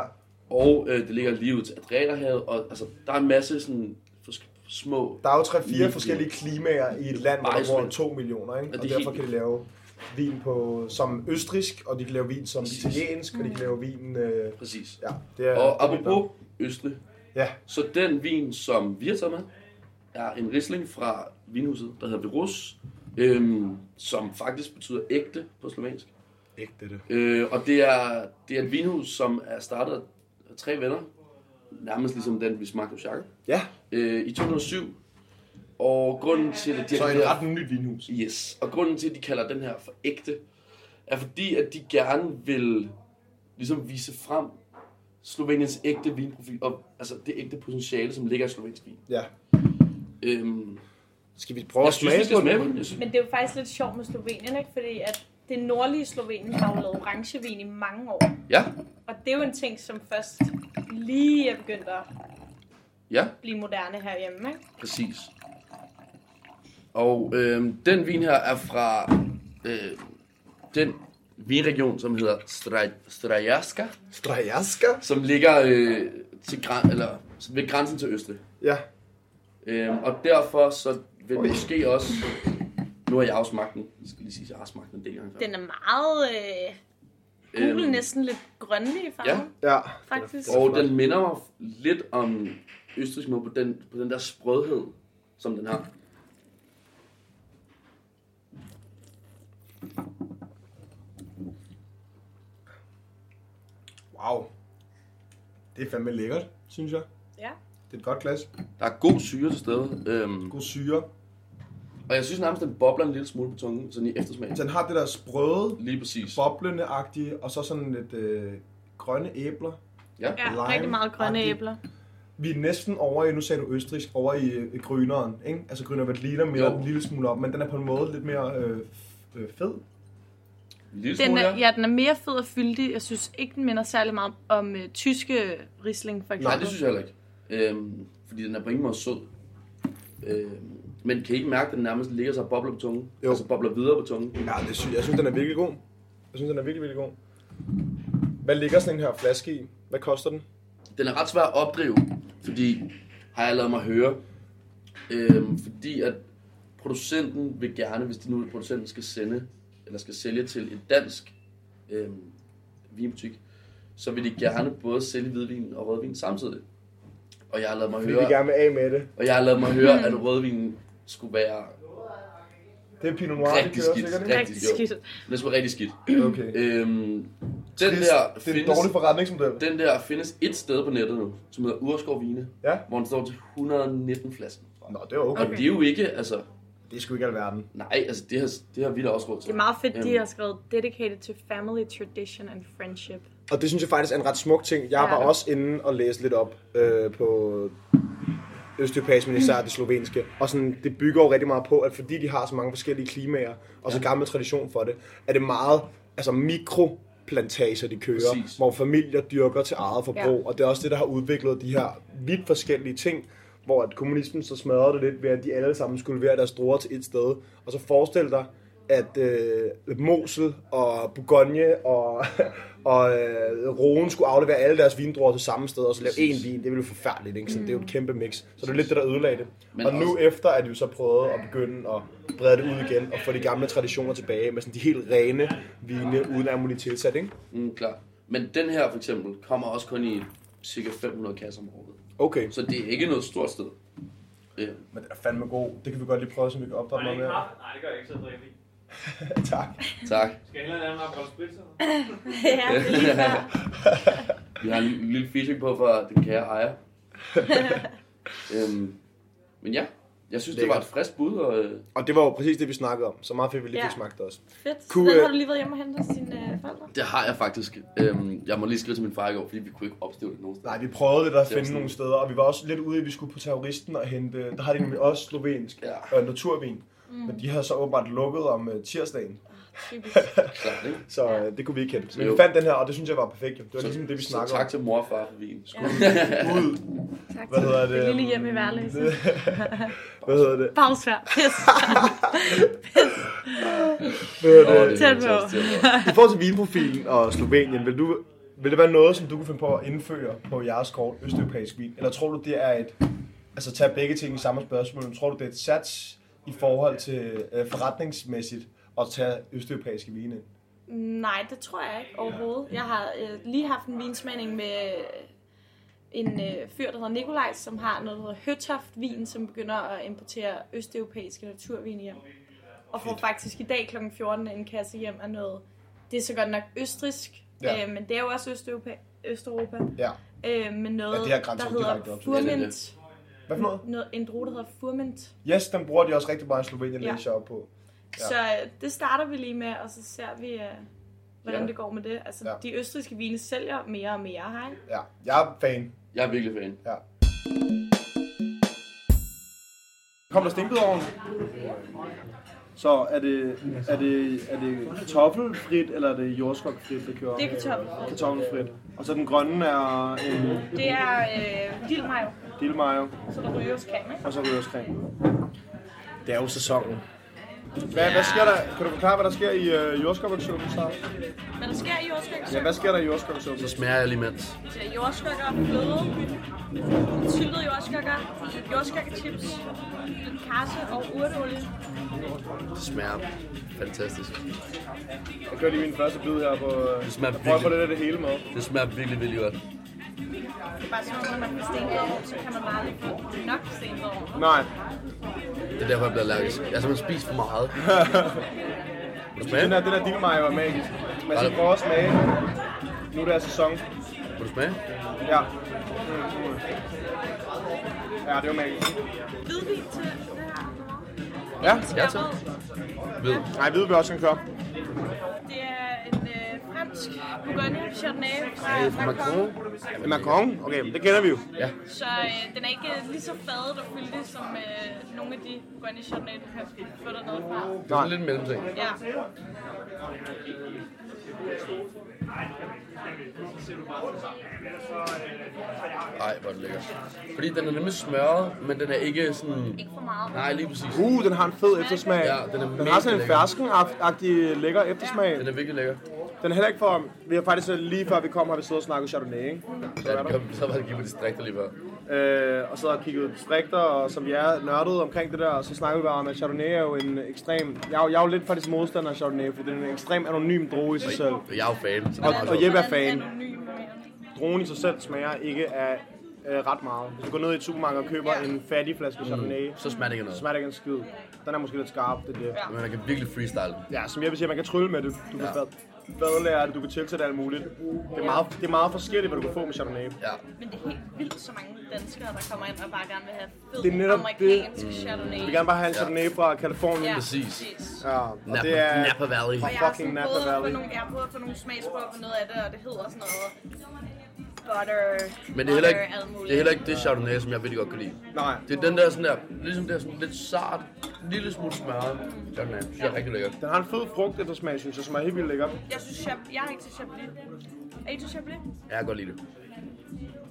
S2: og øh, det ligger lige ud til Adriaterhavet, og altså, der er en masse sådan, for, små
S5: Der er jo tre fire
S2: Lige-
S5: forskellige klimaer i et land, hvor
S2: Bare
S5: der bor
S2: sådan.
S5: 2 millioner, ikke?
S2: Og
S5: Og,
S2: det er
S5: derfor
S2: helt-
S5: kan de lave vin på, som østrisk, og de kan lave vin som
S2: Præcis.
S5: italiensk, og de kan lave vin... Øh,
S2: Præcis.
S5: ja, det er...
S2: Og
S5: det er vildt nok.
S2: apropos Østrig,
S5: Ja,
S2: så den vin, som vi har taget med, er en risling fra vinhuset, der hedder Virus, øhm, som faktisk betyder ægte på slovensk.
S5: ægte det.
S2: Øh, og det er, det er et vinhus, som er startet af tre venner, nærmest ligesom den, vi smagte hos Jacob,
S5: Ja,
S2: øh, i 2007. Og grunden til, at de
S5: så
S2: har
S5: er
S2: den
S5: det
S2: her-
S5: ret nyt vinhus.
S2: Yes, og grunden til, at de kalder den her for ægte, er fordi, at de gerne vil ligesom vise frem Sloveniens ægte vinprofil, og altså det ægte potentiale, som ligger i slovensk vin.
S5: Ja.
S2: Øhm,
S5: Skal vi prøve
S2: jeg
S5: at
S2: synes, vi
S5: smage
S2: skal
S5: på
S2: smage på
S5: den?
S2: den. Jeg synes,
S4: Men det er jo faktisk lidt sjovt med Slovenien, ikke? Fordi at det nordlige Slovenien har jo lavet orangevin i mange år.
S2: ja,
S4: Og det er jo en ting, som først lige er begyndt at
S2: ja,
S4: blive moderne herhjemme, ikke?
S2: præcis. Og øhm, den vin her er fra øh, den vinregion, som hedder Straj- Strajaska,
S5: Strajaska?
S2: som ligger øh, til græn, eller, ved grænsen til Østrig.
S5: Ja.
S2: Øhm, og derfor så vil
S5: Oj.
S2: Oi. måske også... Nu har jeg også smagt den. Jeg skal lige sige, at jeg har smagt den en del gange før.
S4: Den er meget øh, gul, næsten lidt grønlig i farven,
S5: Ja.
S4: ja. faktisk.
S2: Øhm. og den minder mig lidt om østrigsk måde på den, på den der sprødhed, som den har.
S5: Wow. Det er fandme lækkert, synes jeg.
S4: Ja.
S5: Det er et godt glas.
S2: Der er god syre til stede. Øhm,
S5: God syre.
S2: og jeg synes nærmest, den bobler en lille smule på tungen, sådan i eftersmagen.
S5: Den har det der sprøde,
S2: Lige præcis.
S5: boblende-agtige, og så sådan lidt øh, grønne æbler.
S4: Ja,
S5: Lime.
S4: rigtig meget grønne
S5: Agtig.
S4: æbler.
S5: vi er næsten over i, nu sagde du østrigsk, over i, øh, i grøneren, ikke? Altså grønner Veltliner mere
S2: Jo.
S5: en lille smule op, men den er på en måde lidt mere øh, f- øh, fed.
S2: En lille
S4: Den
S2: smule,
S4: er,
S2: ja.
S4: ja, den er mere fed og fyldig. Jeg synes ikke, den minder særlig meget om øh, tyske risling, for eksempel.
S2: Nej, det synes jeg heller ikke. Øhm, fordi den er på ingen måde sød. Øhm, men kan I ikke mærke, at den nærmest ligger sig og bobler på tungen?
S5: Jo.
S2: Altså bobler videre på tungen.
S5: Ja, det sy- jeg synes, den er virkelig god. Jeg synes, den er virkelig, virkelig god. Hvad ligger sådan en her flaske i? Hvad koster den?
S2: den er ret svær at opdrive, fordi har jeg lavet mig høre. Øhm, fordi at producenten vil gerne, hvis det nu er producenten skal sende, eller skal sælge til en dansk øhm, vinbutik, så vil de gerne både sælge hvidvin og rødvin samtidig. Og jeg har lavet mig
S5: Fordi
S2: høre,
S5: vi gerne vil af med det.
S2: og jeg har lavet mig høre, at rødvinen skulle være
S5: Det er Pinot Noir, det
S2: rigtig
S5: kører
S2: skidt.
S5: sikkert, ikke?
S2: Rigtig,
S4: Rigtig
S2: jo.
S4: skidt.
S2: Den skulle være rigtig skidt.
S5: Okay.
S2: Øhm, den
S5: det,
S2: der
S5: er, det er en dårlig forretningsmodel.
S2: Den der findes et sted på nettet nu, som hedder Urskov Vine,
S5: Ja.
S2: hvor den står til 119 flasker.
S5: Nå, det er okay.
S2: Og det er jo ikke, altså,
S5: Det er sgu ikke alverden.
S2: nej, altså det har, det har vi da også råd
S4: Det
S2: til.
S4: er meget fedt, de
S2: Øhm.
S4: har skrevet Dedicated to family, tradition and friendship.
S5: Og det synes jeg faktisk er en ret smuk ting. Jeg
S4: Ja.
S5: var også inde og læse lidt op øh, på østeuropæisk, men især det slovenske. Og sådan, det bygger jo rigtig meget på, at fordi de har så mange forskellige klimaer, og så gammel tradition for det, er det meget altså mikroplantager, de kører,
S2: Præcis.
S5: Præcis. hvor familier dyrker til eget forbrug.
S4: Ja.
S5: Ja. Og det er også det, der har udviklet de her vidt forskellige ting, hvor at kommunismen så smadrede det lidt ved, at de alle sammen skulle være deres store til et sted. Og så forestil dig, at øh, Mosel og Bourgogne og, og øh, Rhone skulle aflevere alle deres vindruer til samme sted, og så lave én vin. Det ville jo forfærdeligt, ikke? Så det er jo et kæmpe mix. Så det er lidt det, der ødelagde det.
S2: Men
S5: Men og nu
S2: også-
S5: efter, at de jo så prøvede at begynde at brede det ud igen, og få de gamle traditioner tilbage med sådan de helt rene vine, uden ammonia tilsat, ikke?
S2: Mm, klar. Men den her for eksempel kommer også kun i cirka 500 kasser om året.
S5: Okay.
S2: Så det er ikke noget stort sted. Ja.
S5: Men den er fandme god. Det kan vi godt lige prøve, så vi kan opdrage
S7: Nej,
S5: noget
S7: det er
S5: mere.
S7: kraft. Nej, det gør jeg ikke, så jeg drikker ikke.
S5: tak.
S2: Tak.
S7: Skal jeg hellere lave en Aperol Spritz eller noget?
S4: ja, det er lige før.
S2: Vi har en lille fishing på for den kære ejer. øhm, men ja, jeg synes, det var et
S5: Lækkert.
S2: frisk bud. Og, øh,
S5: Og det var jo præcis det, vi snakkede om. Så meget fedt, vi lige fik
S4: Ja.
S5: smagt det også.
S4: Fedt. Så
S5: Kunne,
S4: den
S5: øh,
S4: har du lige været hjemme og hentet hos dine øh, forældre?
S2: det har jeg faktisk. Øhm, jeg må lige skrive til min far i går, fordi vi kunne ikke opstøve det nogen steder.
S5: Nej, vi prøvede lidt at
S2: Det var
S5: finde
S2: sådan-
S5: nogle steder, og vi var også lidt ude i, at vi skulle på terroristen og hente, der har de nemlig også slovensk
S2: Ja.
S5: ja. øh, naturvin. Mm. Men de havde så åbenbart lukket om øh, tirsdagen,
S4: Typisk.
S2: Klart, ikke?
S5: så øh, det kunne vi ikke hente. Men
S2: Jo.
S5: vi fandt den her, og det synes jeg var perfekt. jo. Det var
S2: Så,
S5: ligesom det, vi
S2: så
S5: snakkede
S2: tak til mor og far for vin.
S4: Ja.
S5: om. Ud,
S4: Tak
S5: hvad
S4: til
S5: hedder
S4: det
S5: det?
S4: lille hjem i Værløse.
S5: Hvad hedder det?
S4: Bagsvær. Pis.
S5: Hvad hedder
S2: Åh,
S5: det?
S2: det
S4: Tæt
S2: er
S4: på.
S2: fantastisk, tæt på.
S5: I forhold til vinprofilen og Slovenien, vil, du, vil det være noget, som du kunne finde på at indføre på jeres kort, østeuropæisk vin? Eller tror du, det er et... Altså, tag begge ting i samme spørgsmål. Men tror du, det er et sats i forhold til øh, forretningsmæssigt at tage østeuropæiske vine ind?
S4: Nej, det tror jeg ikke overhovedet. Jeg har øh, lige haft en vinsmagning med øh, en øh, fyr, der hedder Nikolaj, som har noget, der hedder Høtoft Vin, som begynder at importere østeuropæiske naturvin hjem. Og får faktisk i dag kl. 14 en kasse hjem af noget. Det er så godt nok østrisk,
S5: Ja.
S4: ja. øh, men det er jo også Østeuropa, Østeuropa
S5: Ja.
S4: øh, med
S5: Ja,
S4: noget,
S5: det her grænser
S4: der
S5: jo direkte
S4: hedder
S5: op til-
S2: Ja, det er
S4: Furmint.
S5: Hvad for noget?
S4: Noget, en drue, der hedder Furmint.
S5: Yes, den bruger de også rigtig meget i Slovenien,
S4: Ja.
S5: ja. læser jeg op på.
S4: Ja. Så øh, det starter vi lige med, og så ser vi, øh,
S2: Ja.
S4: hvordan ja. det går med det. Altså, ja.
S5: Ja.
S4: de østrigske vine sælger mere og mere, hej?
S5: Ja, jeg er fan.
S2: Jeg er virkelig fan.
S5: Kom der stenbiderovn?
S6: Så er det, er det, er det kartoffelfrit, eller er det jordskokfrit, det kører?
S4: Det er kartoffelfrit.
S6: Kartoffelfrit. Og så den grønne er en
S4: Det er øh, dildmajo,
S6: dillemajo,
S4: så der ryger skam, ikke?
S6: og så rygerskrem.
S5: Det er jo sæsonen. Hvad, hvad sker der? Kan du forklare, hvad der sker i øh, jordskokkersuppen, Sara?
S4: Men der sker i jordskøkker,
S5: Ja, hvad sker der i jordskokkersuppen?
S2: Så smager jeg lige mens.
S4: så jordskøkker, fløde, syltede jordskøkker, jordskøkkerchips, lidt karse og urteolie.
S2: Det smager fantastisk.
S5: Jeg kører lige min første bid her på...
S2: Det smager
S5: Jeg prøver at få
S2: virkelig-
S5: lidt af det hele med.
S2: Det smager virkelig, virkelig godt.
S4: Det er bare sådan, når man får stenbrød, så kan man bare lige få nok stenbrød.
S5: Nej.
S2: Det er derfor, jeg bliver allergisk. Jeg har simpelthen spist for meget. Vil du smage?
S5: Den der, den der dillmejer var magisk. Man skal
S2: Ej.
S5: prøve at smage. Nu er det sæson.
S2: Vil du smage?
S5: Ja. Mm, mm. Ja, det var magisk.
S4: Hvidvin til det her.
S5: Ja.
S2: Ja, tak. Ved.
S5: Nej, ved vi også kan køre.
S4: Det er en øh, fransk Bourgogne Chardonnay fra
S2: Macron.
S4: Macron.
S5: Macron? Okay, det kender vi jo.
S4: Så øh, den er ikke øh, lige så fadet og fyldig som øh, nogle af de Guarani Chardonnay, du kan få dernede fra.
S2: Det er sådan lidt en mellemting.
S4: Ja.
S2: Ej, hvor er det lækkert. Fordi den er nemlig smørret, men den er ikke sådan...
S4: Ikke for meget.
S2: Nej, lige præcis.
S5: Uh, den har en fed eftersmag.
S2: Ja, den er
S5: den har sådan en
S2: mega
S5: fersken-agtig lækker eftersmag.
S2: Den er virkelig lækker.
S5: Den er heller ikke for... Vi har faktisk øh, lige før vi kom, har vi siddet og snakket Chardonnay, ikke? Så
S2: Ja,
S5: er
S2: den kom, så var det givet på distrikter lige før.
S5: øh, og så og kigget på distrikter, og som jeg er nørdet omkring det der, og så snakkede vi bare om, at Chardonnay er jo en ekstrem... Jeg er jo, jeg er jo lidt faktisk modstander af Chardonnay, fordi den er en ekstrem anonym droge i sig selv.
S2: Og Jeg er jo fan. Så det er
S5: Og,
S2: meget
S5: og
S2: sjovt.
S5: Jeppe er fan.
S4: Anonym, mener du?
S5: Drogen i sig selv smager ikke af øh, ret meget. Hvis du går ned i et supermarked og køber en fattig flaske Chardonnay,
S2: Mm. Så smager det ikke af
S5: så
S2: noget.
S5: smager det ikke en skid. Den er måske lidt skarp, det er det.
S2: Men man kan virkelig freestyle. den.
S5: Ja, som jeg vil sige, man kan trylle med det. Du kan
S2: Ja.
S5: ja. badlære det, du kan tilsætte alt muligt. Det er, meget, det er meget forskelligt, hvad du kan få med Chardonnay.
S2: Ja,
S4: Men det er helt vildt, så mange danskere, der kommer ind og bare gerne vil have fed
S5: Det er netop
S4: amerikansk Chardonnay.
S5: Vi vil gerne bare have en
S2: Ja.
S5: Chardonnay fra Kalifornien.
S2: præcis.
S5: Ja, og
S2: Napa,
S5: det er...
S2: Napa Valley.
S4: Og jeg har,
S5: Fucking
S4: sådan
S5: Napa
S4: prøvet at få
S5: Valley.
S4: nogle, jeg har prøvet at få nogle smagsprøver på noget af det, og det hedder sådan noget butter,
S2: Men det er heller ikke,
S4: butter, alt muligt.
S2: det er heller ikke det chardonnay, som jeg virkelig godt kan lide.
S8: Nej.
S2: Det er den der sådan der, ligesom der sådan lidt sart, lille smule smør. Chardonnay, synes jeg er rigtig lækkert.
S8: Den har en fed frugteftersmag, synes jeg, som er helt vildt lækker.
S4: Jeg synes, jeg, jeg er ikke til Chablis. Er I til Chablis?
S2: Ja, jeg kan godt lide det.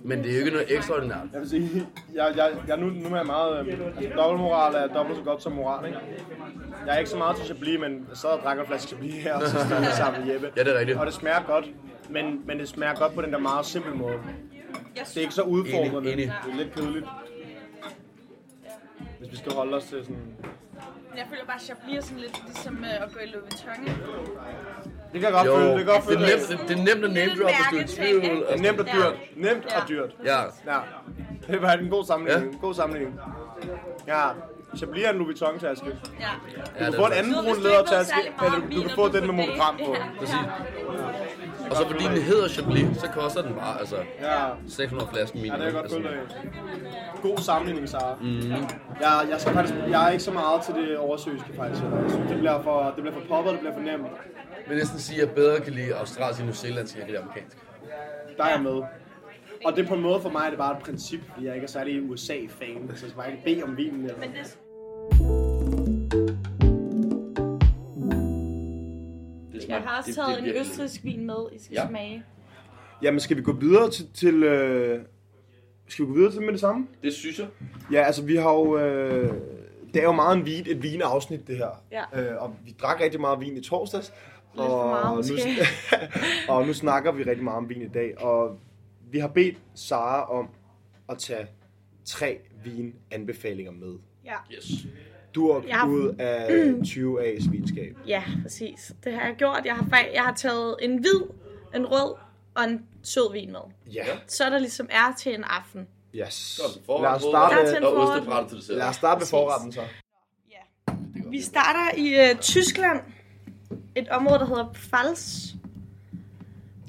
S2: Men det er jo ikke noget ekstraordinært.
S8: Jeg vil sige, jeg, jeg, jeg, nu, nu er jeg meget... øhm, Altså, dobbeltmoral er dobbelt så godt som moral, ikke? Jeg er ikke så meget til Chablis, men jeg sad og drak en flaske Chablis her, og så stod jeg sammen med Jeppe.
S2: Ja, det er rigtigt.
S8: Og det smager godt, men, men det smager godt på den der meget simple måde.
S4: Jeg
S8: Det er ikke så udfordrende.
S2: Enig, enig.
S8: Det er lidt kedeligt. Hvis vi skal holde os til sådan...
S4: Jeg føler bare, at Chablis er sådan lidt ligesom øh, at gå i Louis Vuitton. ikke?
S8: Det kan jeg godt
S2: Jo,
S8: føle, det kan jeg godt
S2: det er
S8: føle.
S2: nemt, det, det er nemt at name drop, hvis du er i
S4: Mærketing,
S2: tvivl.
S4: ikke?
S2: og-
S8: Nemt og
S4: Ja.
S8: dyrt. Nemt og
S4: Ja.
S8: dyrt.
S2: Ja,
S8: Ja, det var en god sammenligning.
S2: Ja.
S8: En god sammenligning. Ja, Chablis er en Louis Vuitton-taske. Du
S4: Ja.
S2: ja
S8: kan
S2: det
S8: få
S2: er
S8: en anden
S4: Så
S8: brun
S4: hvis du ikke ved
S8: lædertaske,
S4: særlig meget
S8: men
S4: om
S8: du, du
S4: vin,
S8: kan
S4: og
S8: få
S4: du
S8: den med
S4: skal
S8: monogram
S4: date,
S8: på.
S4: ja.
S2: præcis. Og så fordi den hedder Chablis, så koster den bare altså
S8: Ja,
S2: 600 flasken
S8: ja
S2: minimum.
S8: det er jeg godt
S2: Altså,
S8: følt af. God sammenligning, Sara. Mm.
S2: Mhm.
S8: Jeg, jeg, skal faktisk, jeg er ikke så meget til det oversøiske, faktisk. Jeg synes, det bliver for, det bliver for poppet, det bliver for nemt.
S2: Jeg vil næsten sige, at jeg bedre kan lide australsk end newzealandsk, end jeg kan lide amerikansk.
S8: Der er jeg med. Og det er på en måde for mig, det er bare et princip, fordi jeg ikke er særlig USA-fan, så jeg skal bare ikke bede om vinen. Eller.
S4: Men det,
S2: Det smager-
S4: jeg har også
S2: det-
S4: taget
S2: det er
S4: en
S2: virkelig-
S4: østrigsk vin med, I skal
S2: Ja.
S4: smage.
S5: Jamen, skal vi gå videre til... til øh... Skal vi gå videre til med det samme?
S2: Det synes jeg.
S5: Ja, altså vi har jo... Øh, det er jo meget en vin, et vinafsnit, det her.
S4: Ja.
S5: Øh, og vi drak rigtig meget vin i torsdags.
S4: Lidt for meget, måske.
S5: nu, og nu snakker vi rigtig meget om vin i dag. Og vi har bedt Sara om at tage tre vinanbefalinger med.
S4: Ja.
S2: Yes.
S5: Du er
S4: Ja.
S5: ud af 20 A's vinskab.
S4: ja, præcis. Det har jeg gjort. Jeg har, fa- jeg har taget en hvid, en rød og en sød vin med.
S5: Ja.
S4: Så der ligesom er til en aften.
S5: Yes.
S2: Godt,
S5: Lad os
S4: Der er til
S5: starte,
S4: en
S2: og
S4: forret.
S2: ostebrætter til dessert.
S5: lad os starte med
S4: Præcis.
S5: forretten så.
S4: Vi starter i øh, Tyskland. Et område, der hedder Pfalz. Ja.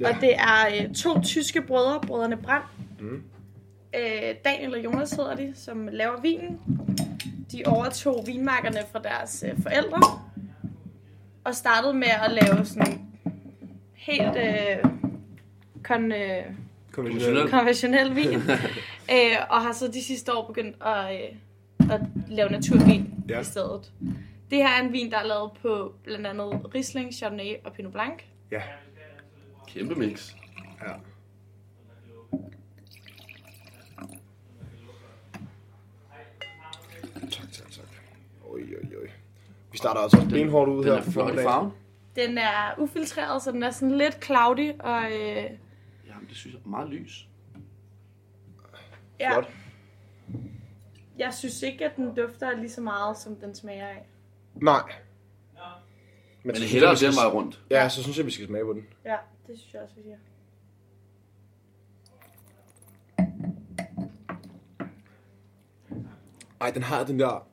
S5: Ja.
S4: Og det er øh, to tyske brødre, brødrene Brand. Mm. Øh, Daniel og Jonas hedder de, som laver vinen. De overtog vinmarkerne fra deres øh, forældre. Og startede med at lave sådan helt øh, kon, øh,
S2: Konventionelt.
S4: konventionel vin. øh, og har så de sidste år begyndt at, øh, at lave naturvin ja.
S5: Ja.
S4: i stedet. Det her er en vin, der er lavet på blandt andet Riesling, Chardonnay og Pinot Blanc.
S5: Ja.
S2: Kæmpe mix.
S5: ja. Tak, tak, tak. Oj, oj, oj. Vi starter altså også benhårdt
S2: Den
S5: ud her.
S2: er
S5: på
S2: flot i
S5: formiddagen.
S2: farven.
S4: Den er ufiltreret, så den er sådan lidt cloudy. Og, øh,
S2: Jamen, det synes jeg er meget lys.
S4: ja,
S5: Flot.
S4: jeg synes ikke, at den dufter lige så meget, som den smager af.
S5: Nej.
S2: Men
S5: så
S2: det er
S5: synes
S2: hellere
S5: jeg, vi skal-
S2: den vej rundt.
S5: Ja, så synes jeg, vi skal smage på den.
S4: Ja, det synes jeg også, vi siger.
S5: Ej, den har den der...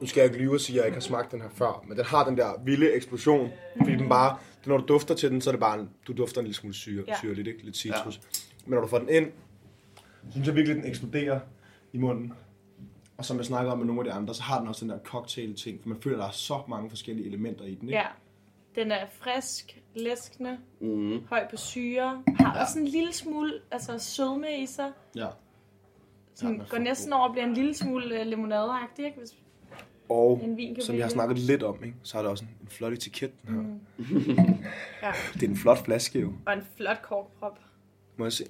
S5: Nu skal jeg ikke lyve og sige, at jeg ikke har smagt den her før, men den har den der vilde eksplosion. Fordi den bare, når du dufter til den, så er det bare, en, du dufter en lille smule syre,
S4: Ja.
S5: ja. syrligt, ikke? Lidt citrus. Ja. Men når du får den ind,
S8: synes jeg virkelig, den eksploderer i munden. Og som jeg snakker om med nogle af de andre, så har den også den der cocktail-ting, for man føler, der er så mange forskellige elementer i den, ikke?
S4: Ja. Den er frisk, læskende, mm. høj på syre, har ja. også en lille smule altså, sødme i sig.
S8: Ja.
S4: Sådan,
S8: den er
S4: går
S8: for
S4: næsten over og bliver en lille smule øh, limonadeagtig, ikke? Hvis,
S5: og
S4: En vin kan
S5: som
S4: blive
S5: jeg har
S4: det.
S5: snakket lidt om, ikke? så er der også en, en flot etiket. Den her. Mm.
S4: ja.
S5: Det er en flot flaske jo.
S4: Og en flot korkprop.
S5: Må jeg se?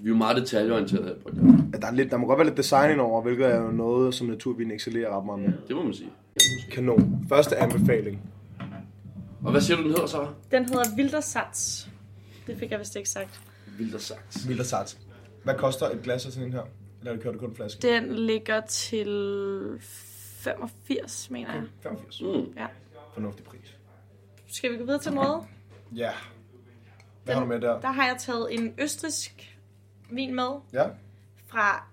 S2: Vi er jo meget detaljeorienterede her på det.
S5: Ja, Der, er lidt, der må godt være lidt design indover, hvilket er jo noget, som naturvin excellerer ret meget med.
S2: Det må man sige.
S5: Kanon. Første anbefaling.
S2: Og hvad siger du, den hedder så?
S4: Den hedder Wildersatz. Det fik jeg vist ikke sagt.
S2: Vildt og sagt.
S5: Vildt og sart.
S8: Hvad koster et glas af sådan en her? Eller kører du kun en flaske?
S4: Den ligger til 85, mener jeg.
S8: 85.
S2: Mm.
S4: Ja.
S8: Fornuftig pris.
S4: Skal vi gå videre til noget?
S8: Ja. Hvad har du med der?
S4: Der har jeg taget en østrisk vin med
S8: Ja.
S4: fra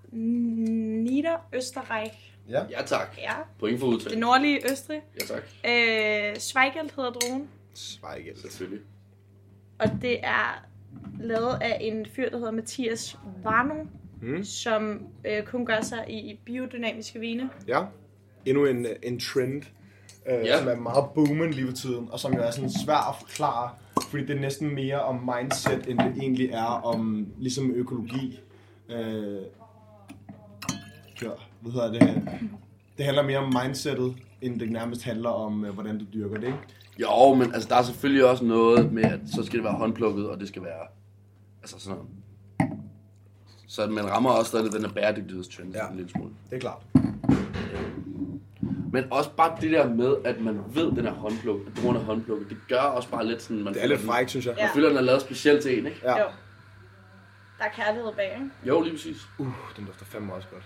S4: Niederösterreich.
S2: Ja, tak.
S4: Ja,
S2: Point for
S4: det
S2: udtale.
S4: nordlige Østrig.
S2: Ja, tak.
S4: Øh, Schweigelt hedder druen,
S5: Svejgæld.
S2: Selvfølgelig.
S4: og det er lavet af en fyr, der hedder Mathias Varno, mm. som øh, kun gør sig i biodynamiske vine.
S5: Ja. Endnu en, en trend, øh,
S2: Ja.
S5: som er meget booming lige for tiden, og som jo er sådan svær at forklare. fordi det er næsten mere om mindset, end det egentlig er om ligesom økologi. Øh, ja, hvad hedder det? Det handler mere om mindsetet, end det nærmest handler om, øh, hvordan du dyrker det. Ikke?
S2: Jo, men altså, der er selvfølgelig også noget med, at så skal det være håndplukket, og det skal være... Altså sådan noget. Så man rammer også stadig den her bæredygtighedstrend ja.
S5: Ja.
S2: en lille smule.
S5: Det er klart.
S2: Men også bare det der med, at man ved, at den er håndplukket, at broen er håndplukket, det gør også bare lidt sådan, man
S3: Det er lidt
S2: føler, den-
S3: frækt, synes jeg.
S4: Ja.
S2: man føler, den er lavet specielt til en, ikke?
S4: Ja.
S5: Ja.
S4: Jo. Der er kærlighed bag, ikke?
S2: Jo, lige præcis.
S3: Uh, den dufter fandme også godt.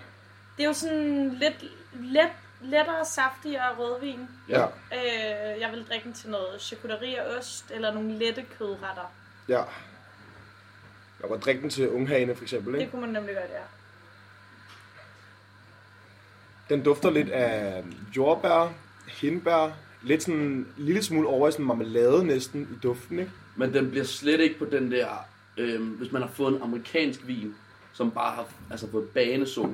S4: Det er jo sådan lidt let, lettere, saftigere rødvin.
S2: Ja. ja.
S4: Øh, jeg vil drikke den til noget charcuterie og ost, eller nogle lette kødretter.
S3: Ja. Jeg kan godt drikke den til unghane, for eksempel.
S4: Det
S3: Ikke?
S4: kunne man nemlig gøre der.
S3: Den dufter lidt af jordbær, hindbær, lidt sådan en lille smule over i sådan marmelade næsten i duften, ikke?
S2: Men den bliver slet ikke på den der, øh, hvis man har fået en amerikansk vin, som bare har altså, fået banesol,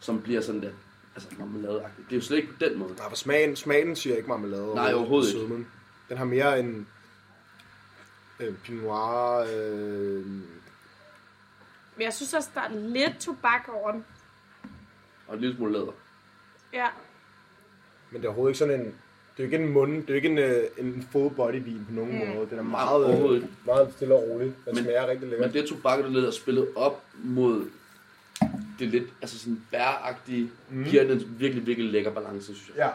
S2: som bliver sådan der, altså marmeladeagtig. Det er jo slet ikke på den måde.
S3: Nej, for smagen, smagen siger ikke marmelade.
S2: Nej, overhovedet
S3: sødmen. Den har mere en øh, pinot noir, øh,
S4: Men jeg synes også, der er lidt tobak over den.
S2: Og en lille smule læder.
S4: Ja.
S3: men det er overhovedet ikke sådan en... Det er jo ikke en mund, det er jo ikke en, øh, en full body vin på nogen mm. måde. Den er meget,
S2: overhovedet
S3: øh,
S2: ikke.
S3: meget stille og rolig. Den
S2: Men-
S3: men, smager rigtig lækkert.
S2: Men det tobak, der lidt er spillet op mod det lidt, altså sådan bæragtige, mm. giver den en virkelig, virkelig lækker balance, synes jeg.
S5: Ja.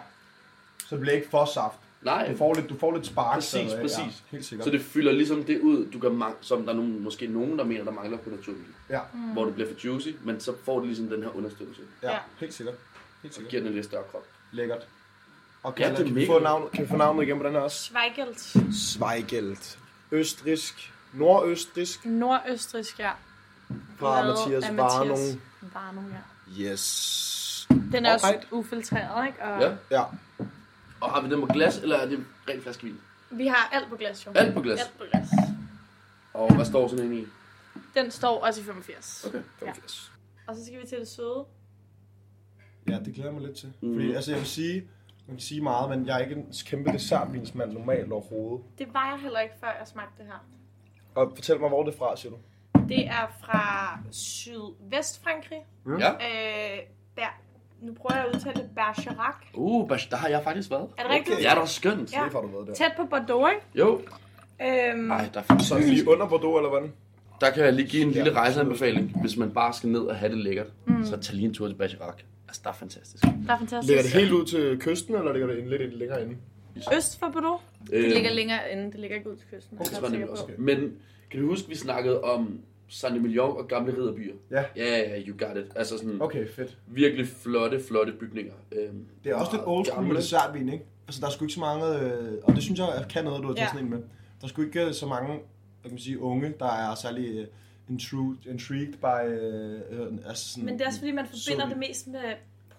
S5: Så det bliver ikke for saft.
S2: Nej,
S5: Du får lidt, du får lidt spark.
S2: Præcis,
S5: stadig,
S2: præcis.
S5: Ja, helt sikkert.
S2: så det fylder ligesom det ud, du kan mang- som der er nogen, måske nogen, der mener, der mangler på naturvin.
S5: Ja,
S2: Mm. Hvor det bliver for juicy, men så får det ligesom den her understøttelse.
S5: ja,
S4: Ja.
S5: ja, helt sikkert. Helt
S2: Så
S5: sikkert.
S2: giver den en lidt større krop.
S5: Lækkert. Og
S2: Ja,
S5: kan,
S2: det er
S5: kan, vi
S2: mega
S5: få navnet, kan vi få navnet igen på den her også?
S4: Schweigelt.
S3: Zweigelt. Østrisk. Nordøstrisk.
S4: Nordøstrisk, ja.
S3: Fra
S4: Lavet
S3: Mathias
S4: af
S3: Varnung.
S4: Varno, ja.
S3: Yes.
S4: Den er også
S3: Alright.
S4: ufiltreret, ikke? Og
S2: Ja.
S3: Ja.
S2: Og har vi den på glas, eller er det rent flaskevin?
S4: Vi har alt på glas, jo.
S2: Alt på glas.
S4: Alt på glas.
S2: Og hvad står sådan en i?
S4: Den står også i 85.
S2: Okay.
S4: Ja. Og så skal vi til det søde.
S5: Ja, det glæder jeg mig lidt til. Mm. Fordi altså, jeg vil sige, man kan sige meget, men jeg er ikke en kæmpe dessertvinsmand normalt overhovedet.
S4: Det var jeg heller ikke, før jeg smagte det her.
S5: Og fortæl mig, hvor er det fra, siger du?
S4: Det er fra Sydvestfrankrig.
S2: Ja.
S4: Øh, Ber- nu prøver jeg at udtale det. Bergerac.
S2: Uh, Bash, der har jeg faktisk været.
S4: Er det rigtigt?
S2: Ja, det er skønt.
S4: Ja.
S5: Det har du været der.
S4: Tæt på Bordeaux, ikke?
S2: Jo.
S4: Øhm,
S2: Nej, der er faktisk
S3: Så er vi lige under Bordeaux, eller hvordan?
S2: Der kan jeg lige give en lille rejseanbefaling, hvis man bare skal ned og have det lækkert. Mm. Så tag lige en tur til Bacharach. Altså, der er fantastisk.
S4: der er fantastisk.
S3: Ligger det helt ud til kysten, eller ligger det lidt længere inde?
S4: Øst for Bordeaux.
S2: Øhm,
S4: Det ligger længere inde. Det ligger ikke ud til kysten.
S2: det var
S4: er jeg
S2: nemlig
S4: ret
S2: også.
S4: sikker på.
S2: Men kan du huske, vi snakkede om Saint Emilion og gamle ridderbyer?
S5: Ja.
S2: Ja, ja, you got it. Altså sådan okay.
S5: Okay, fedt.
S2: virkelig flotte, flotte bygninger. Øhm,
S5: Det er også lidt
S2: og
S5: old school med
S2: gamle.
S5: dessertvin, ikke? Altså, der er sgu ikke så mange, øh, og det synes jeg jeg kan noget, du har taget
S4: Ja.
S5: sådan en med. Der er sgu ikke øh, så mange, hvad kan man sige, unge, der er særlig øh, intru- intrigued by, øh, øh, altså sådan...
S4: Men det er også fordi, man forbinder
S5: Sødt.
S4: det mest med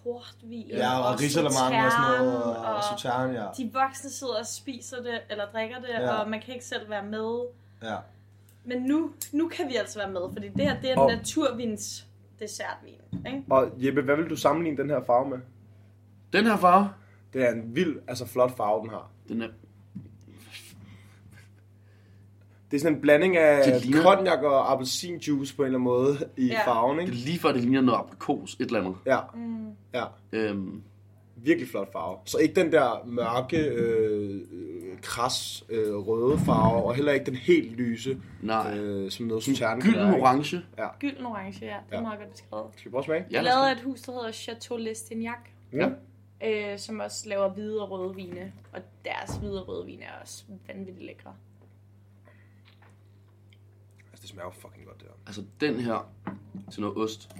S4: portvin
S5: Ja, og, og risalamande og sådan noget, og, og, og sauterne, ja.
S4: de voksne sidder og spiser det, eller drikker det,
S5: Ja.
S4: og man kan ikke selv være med.
S5: ja.
S4: Men nu, nu kan vi altså være med, fordi det her det er
S3: Og-
S4: en naturvins dessertvin. Ikke?
S3: Og Jeppe, hvad vil du sammenligne den her farve med?
S2: Den her farve,
S3: Det er en vild, altså flot farve, den har.
S2: den er...
S3: Det er sådan en blanding af
S2: Det ligner-
S3: cognac og appelsinjuice på en eller anden måde i
S4: Ja.
S3: ja. farven,
S2: Det er
S3: ikke?
S2: lige før, det ligner noget aprikos, et eller andet.
S3: Ja,
S4: Mm.
S3: ja.
S2: Øhm,
S3: Virkelig flot farve. Så ikke den der mørke, øh, øh, kras, øh, røde farve, og heller ikke den helt lyse,
S2: nej.
S3: øh, som noget sauterne. kan være,
S2: Gylden
S3: ikke?
S2: orange.
S4: Gylden orange, ja. Det er
S3: Ja.
S4: meget godt beskrevet.
S3: Skal vi prøve at smage?
S2: Ja,
S4: Jeg
S2: der
S4: lavede af
S2: skal-
S4: et hus, der hedder Chateau Lestignac,
S2: Ja.
S4: øh, som også laver hvide og røde vine. Og deres hvide og røde vine er også vanvittigt lækre.
S3: Altså, det smager jo fucking godt, det der.
S2: altså den her til noget ost.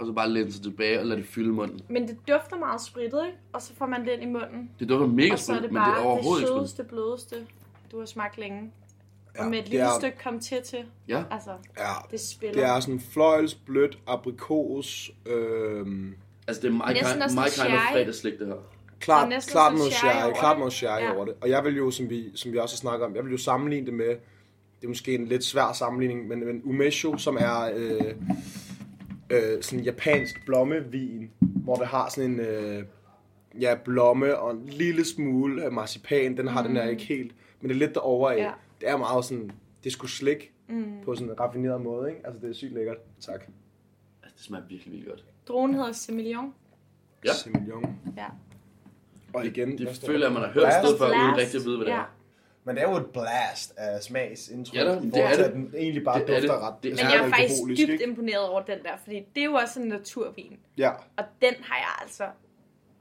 S2: Og så bare læne sig tilbage og lade det fylde munden.
S4: Men det dufter meget sprittet, ikke? Og så får man den i munden.
S2: Det dufter mega
S4: og så er
S2: sprit,
S4: det
S2: men det er
S4: bare det,
S2: overhovedet ikke sprit.
S4: sødeste, blødeste, du har smagt længe.
S3: Ja,
S4: og med et
S3: det
S4: lille
S3: er-
S4: stykke kom til til.
S2: Ja.
S4: Altså,
S3: Ja,
S4: det spiller.
S3: det er sådan fløjls, blødt, aprikos, øh,
S2: Altså det er my,
S4: Næsten
S2: kind, my
S4: også noget
S2: kind of
S4: sherry.
S2: fredagslik, det her.
S3: klart,
S4: Der er næsten
S3: klart
S4: sådan
S3: noget
S4: sherry over
S3: sherry,
S4: det.
S3: klart noget sherry
S4: Ja.
S3: ja. over det. Og jeg vil jo, som vi, som vi også snakker om, jeg vil jo sammenligne det med, det er måske en lidt svær sammenligning, men, men umesho, som er øh, øh, sådan en japansk blommevin, hvor det har sådan en, øh,
S8: ja, blomme og en lille smule af marcipan. Den har mm. den der ikke helt, men det er lidt derovre af.
S4: Ja.
S8: Ja. Det er meget sådan, det er sgu slik mm. på sådan en raffineret måde, ikke? Altså, det er sygt lækkert. Tak.
S2: Altså, det smager virkelig, virkelig godt.
S4: Dronen hedder Semillon.
S2: Ja.
S8: Semillon.
S4: Ja.
S8: Og igen,
S2: Det
S8: hvad står
S2: føler
S8: der?
S2: jeg, man har hørt et sted før, uden rigtig at vide, hvad det
S4: ja.
S2: er.
S5: Men det er jo et blast af smagsindtryk,
S2: Ja,
S5: ja,
S2: da,
S5: i
S2: det
S5: forhold
S2: er det.
S5: til, at den egentlig bare
S2: Det er det.
S5: dufter ret
S2: Det
S4: Men
S2: er
S4: jeg er faktisk
S5: alkoholisk,
S4: dybt
S5: ikke?
S4: imponeret over den der, fordi det er jo også en naturvin.
S8: Ja,
S4: Og den har jeg altså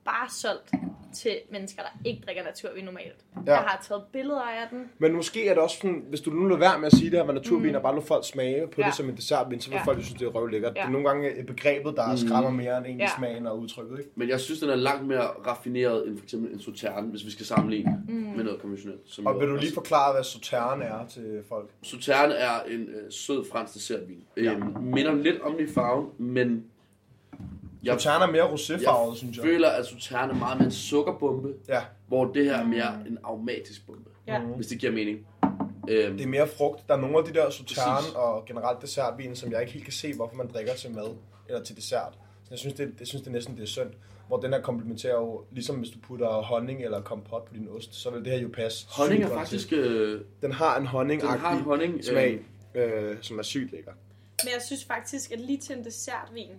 S4: bare solgt til mennesker, der ikke drikker naturvin normalt. Ja. Jeg har taget billeder af den.
S8: men måske er det også sådan, hvis du nu lader være med at sige det her med naturvin, mm. og bare lade folk smage på ja.
S4: Ja.
S8: det som en dessertvin, så vil
S4: Ja.
S8: ja. folk jo synes, det er røvlækkert.
S4: Ja.
S5: Det
S8: Ja.
S5: er nogle gange øh, begrebet, der mm. skræmmer mere end egentlig
S4: Ja.
S5: ja. smagen og udtrykket, ikke?
S2: Men jeg synes, den er langt mere raffineret end for eksempel en Sauternes, hvis vi skal sammenligne mm. med noget konventionelt. Som
S5: Og
S2: jo-
S5: vil du lige
S2: altså,
S5: forklare, hvad sauterne er til folk?
S2: Sauterne er en øh, sød fransk dessertvin. Ja. Øhm, minder lidt om i farven, men jeg,
S5: Sauterne er mere roséfarvet, synes jeg.
S2: føler, at Sauterne er meget mere en sukkerbombe,
S5: Ja, Mm.
S2: hvor det her er mere en aromatisk bombe,
S4: Mm. Ja.
S2: hvis det giver mening. Øhm,
S5: det er mere frugt. Der er nogle af de der
S2: Præcis.
S5: sauterne og generelt dessertvin, som jeg ikke helt kan se, hvorfor man drikker til mad eller til dessert. Så jeg synes, det, jeg synes det er næsten det er synd. Hvor den her komplementerer jo, ligesom hvis du putter honning eller kompot på din ost, så vil det her jo passe. sygt
S2: honning er
S5: godt
S2: faktisk...
S5: Til.
S2: Øh,
S8: Den har en honning
S2: den har en honning.
S8: smag,
S2: Øh,
S8: øh, som er sygt lækker.
S4: Men jeg synes faktisk, at lige til en dessertvin,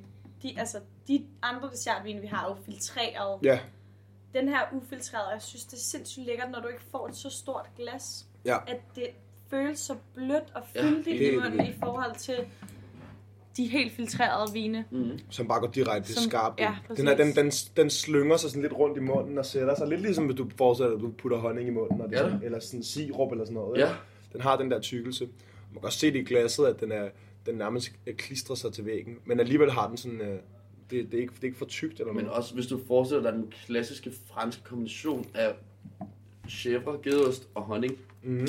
S4: de, altså, de andre dessertvine, vi har, er jo filtreret.
S8: Ja,
S4: Den her er ufiltreret, og jeg synes, det er sindssygt lækkert, når du ikke får et så stort glas,
S8: ja.
S4: at det føles så blødt og
S2: Ja,
S4: fyldigt ja, i
S8: helt
S4: munden i forhold til de helt filtrerede vine.
S8: Mm-hmm. Som bare går direkte til
S4: Som-
S8: skarpt.
S4: ja,
S8: Ja, den, her, den,
S4: præcis.
S8: den, den slynger sig sådan lidt rundt i munden og sætter sig. Lidt ligesom hvis du forestiller dig, at du putter honning i munden, og det,
S2: Ja.
S8: ja. sådan, eller sådan sirup eller sådan noget.
S2: Ja.
S8: ikke? Den har den der tykkelse. Man kan også se det i glasset, at den, er, den nærmest øh, klistrer sig til væggen. Men alligevel har den sådan... Øh, det, det, er ikke, det er ikke for tykt eller
S2: Men
S8: noget.
S2: også hvis du forestiller dig den klassiske franske kombination af chèvre, gedeost og honning.
S5: Mm-hmm.
S8: Mhm.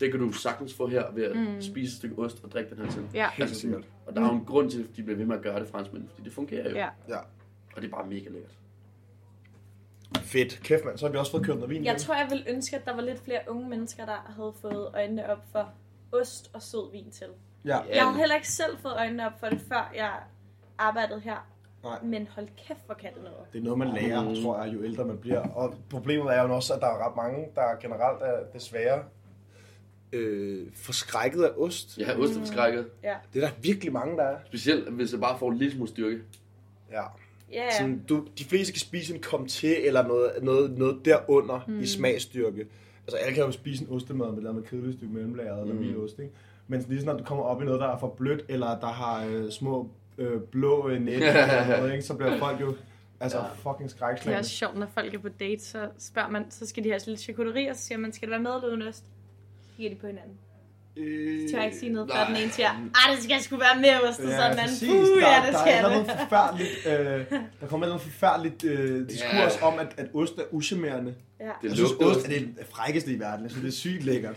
S2: Det kan du sagtens få her ved at mm. spise et stykke ost og drikke den her til.
S4: Ja. Mm.
S2: altså, sådan, og der er jo en grund til, at de bliver ved med at gøre det franskmænd, fordi det fungerer jo.
S4: Ja.
S8: Ja.
S2: Og det er bare mega lækkert.
S5: Fedt. Kæft, mand. Så har vi også fået kørt noget vin.
S4: Jeg
S5: hjem.
S4: tror, jeg ville ønske, at der var lidt flere unge mennesker, der havde fået øjnene op for ost og sød vin til.
S5: Ja.
S4: Jeg havde heller ikke selv fået øjnene op for det, før jeg arbejdede her.
S5: Nej.
S4: Men hold kæft, hvor kan det noget.
S5: Det er noget, man lærer, mm. tror jeg, jo ældre man bliver. Og problemet er jo også, at der er ret mange, der generelt er desværre.
S8: Øh, forskrækket af ost. Ja.
S2: Ja, ost er
S4: Mm.
S2: forskrækket.
S4: Ja.
S8: Det er der virkelig mange, der er.
S2: Specielt hvis jeg bare får en lille smule styrke.
S8: Ja.
S4: Ja, yeah.
S8: Sådan, du, de fleste kan spise en comté eller noget, noget, noget derunder mm. i smagsstyrke.
S5: Altså, alle kan jo spise en ostemad med et eller andet kedeligt stykke mellemlager eller mm. vildost, ikke? Men lige så snart du kommer op i noget, der er for blødt, eller der har øh, små øh, blå øh, net, eller noget, ikke? så bliver folk jo altså, fucking
S4: Det er
S5: skrækslagende.
S4: også sjovt, når folk er på date, så spørger man, så skal de have sådan lidt charcuterie, og så siger man, skal det være med eller uden ost? Så giver de på hinanden.
S8: Øh,
S4: Så tør jeg ikke sige noget, før
S2: nej.
S4: den ene siger, ah, det skal sgu være med ost, og så den anden,
S5: præcis.
S4: puh,
S5: der,
S4: ja, det
S5: der er
S4: skal
S5: et eller andet
S4: det.
S5: forfærdeligt, øh, der kommer et eller andet forfærdeligt øh, diskurs
S2: Ja.
S5: om, at, at ost er uschammerende.
S4: Ja.
S2: Det
S5: Jeg synes,
S2: lugter
S5: ost er det frækkeste i verden. Jeg synes, det er sygt lækkert.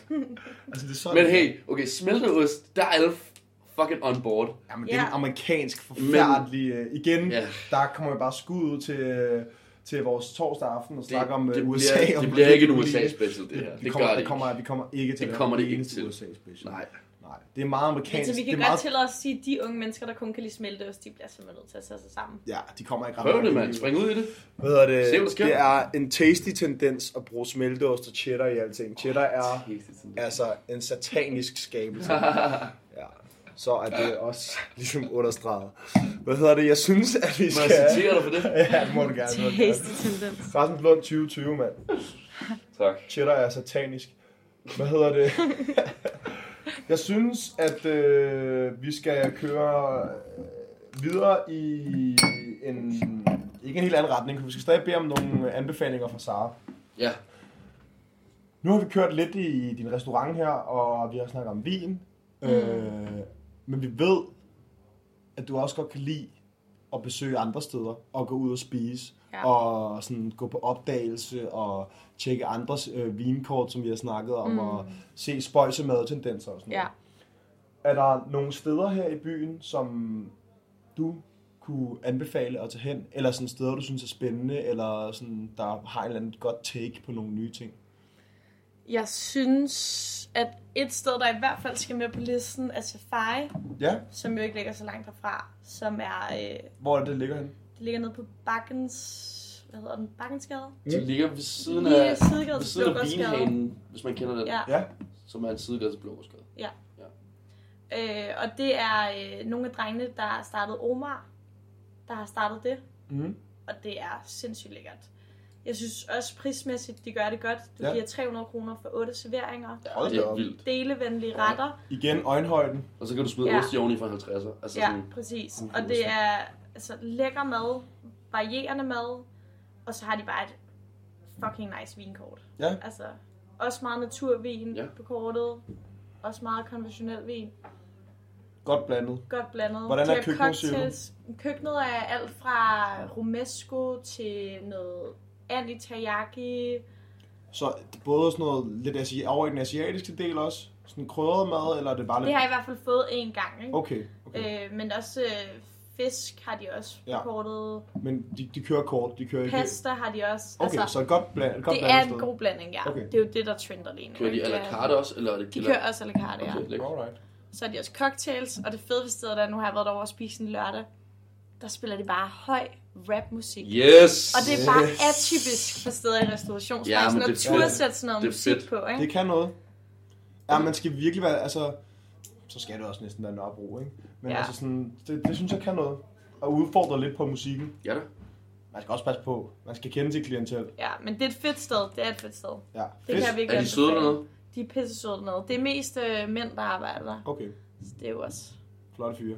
S5: Altså, det er sådan,
S2: Men hey, okay, smeltet ost, der er alle f- fucking on board.
S5: Jamen, det er
S4: Ja.
S5: en amerikansk forfærdelig... øh, igen,
S2: Ja.
S5: der kommer vi bare skud ud til, øh, til vores torsdag aften og snakke om
S2: det
S5: øh,
S2: bliver-
S5: USA.
S2: det
S5: og
S2: bliver
S5: hvordan
S2: ikke en
S5: vi kan lide
S2: USA-special, det her.
S5: Vi
S2: Det
S5: kommer,
S2: gør det
S5: det kommer, Vi kommer ikke til
S2: Det kommer
S5: være
S2: det
S5: den
S2: ikke
S5: eneste
S2: til.
S5: USA-special.
S2: Nej.
S5: Nej. Det er meget
S4: Men
S5: amerikansk.
S4: så vi
S5: det
S4: kan
S5: er
S4: godt
S5: meget...
S4: tillade os at sige, at de unge mennesker, der kun kan lide smelte ost, de bliver simpelthen nødt til at tage sig sammen.
S5: Ja, de kommer ikke ret
S2: Prøv
S5: langt
S2: det,
S5: i
S2: mand.
S5: livet.
S2: Spring ud i det.
S8: Hvad hedder det?
S2: Se, hvad der sker.
S8: det er en tasty tendens at bruge smelteost og cheddar i alting. Cheddar er altså en satanisk skabelse. ja. Så er det også ligesom understreget. Hvad hedder det? Jeg synes, at vi
S2: Må jeg
S8: skal...
S2: citere dig for det?
S5: Ja, det må du gerne. Må du gerne.
S4: Tasty tendens.
S5: Rasmus Lund 2020, mand.
S2: Tak.
S5: Cheddar er satanisk. Hvad hedder det? jeg synes, at øh, vi skal køre øh, videre i en... Ikke en helt anden retning, for vi skal stadig bede om nogle anbefalinger fra Sara.
S2: Ja,
S5: Nu har vi kørt lidt i din restaurant her, og vi har snakket om vin. Mm. Øh, men vi ved, at du også godt kan lide at besøge andre steder, og gå ud og spise,
S4: Ja.
S5: ja. og sådan gå på opdagelse, og tjekke andres øh, vinkort, som vi har snakket om, mm. og se spøjse madtendenser og sådan
S4: Ja.
S5: noget. Er der nogle steder her i byen, som du kunne anbefale at tage hen, eller sådan steder, du synes er spændende, eller sådan, der har en eller anden godt take på nogle nye ting?
S4: Jeg synes, at et sted, der i hvert fald skal med på listen, er Safari,
S5: Ja,
S4: som jo ikke ligger så langt derfra, som er, øh,
S5: Hvor er det, det ligger henne?
S4: det ligger nede på Bakkens hvad hedder den, Bakkensgade.
S2: De ligger ved siden
S4: Lige
S2: af,
S4: sidegade
S2: ved
S4: til
S2: siden af
S4: Blågårdsgade.
S2: vinhanen, hvis man kender den,
S4: Ja.
S2: som er en sidegade til Blågårdsgade.
S4: Øh, og det er øh, nogle af drengene, der har startet Omar, der har startet det.
S5: Mhm.
S4: Og det er sindssygt lækkert. Jeg synes også prismæssigt, de gør det godt. Du
S5: Ja.
S4: ja. giver 300 kroner for otte serveringer.
S2: Ja,
S5: Hold
S2: det
S5: da
S2: er
S5: op.
S2: vildt.
S4: Delevenlige retter.
S5: Igen, øjenhøjden.
S2: Og så kan du smide
S4: Ja.
S2: ost i oveni fra 50'er. Altså
S4: Ja,
S2: sådan,
S4: præcis.
S2: Uhuh,
S4: Og det er altså, lækker mad, varierende mad, og så har de bare et fucking nice vinkort.
S5: Ja.
S4: Altså, også meget naturvin
S2: Ja.
S4: på kortet, også meget konventionel vin,
S5: Godt blandet.
S4: godt blandet.
S5: Hvordan
S4: De
S5: er
S4: har
S5: køkkenet, siger du?
S4: cocktails. Køkkenet er alt fra romesco til noget and i teriyaki.
S5: Så både sådan noget lidt asi- over i den asiatiske del også? Sådan krydret mad, eller er det bare lidt...
S4: Det har jeg i hvert fald fået en gang, ikke?
S5: Okay, okay.
S4: Øh, men også øh, fisk har de også på
S5: Ja.
S4: kortet,
S5: Men de, de kører kort, de kører ikke...
S4: pasta har de også. Altså,
S5: Okay, så et godt, bland, et godt
S4: det
S5: blandet
S4: er en
S5: sted.
S4: god blanding, ja.
S5: Okay.
S4: Okay. Det er jo det, der trender lige nu.
S2: kører de
S4: ikke?
S2: à la
S4: Det er-
S2: carte også? Eller er det
S4: De kører også à la carte, ja.
S2: Okay, lækkert.
S5: Alright.
S4: Så er de også cocktails, og det fede ved stedet er, nu har jeg været derovre og spise en lørdag, der spiller de bare høj rapmusik.
S2: Yes!
S4: Og det er bare atypisk for steder i restaurationsbranchen,
S2: Ja,
S4: ja,
S2: men
S4: at
S2: det er
S4: turde
S2: fedt.
S4: sætte sådan noget
S2: Det er
S4: musik
S2: fedt.
S4: på,
S5: Det
S4: ikke?
S5: kan noget. Ja, man skal virkelig være, altså... Så skal det også næsten være Nørrebro, ikke? Men ja.
S4: Ja.
S5: altså sådan, det, det synes jeg kan noget. Og udfordre lidt på musikken.
S2: Ja da.
S5: Man skal også passe på. Man skal kende sit klientel.
S4: Ja, men det er et fedt sted. Det er et fedt sted.
S5: Ja,
S4: Det kan jeg virkelig
S2: Er de søde
S4: anbefale.
S2: dernede?
S4: De er pisse søde dernede. Det er mest øh, mænd, der arbejder der.
S5: Okay,
S4: Så det er jo også...
S5: flotte fyre.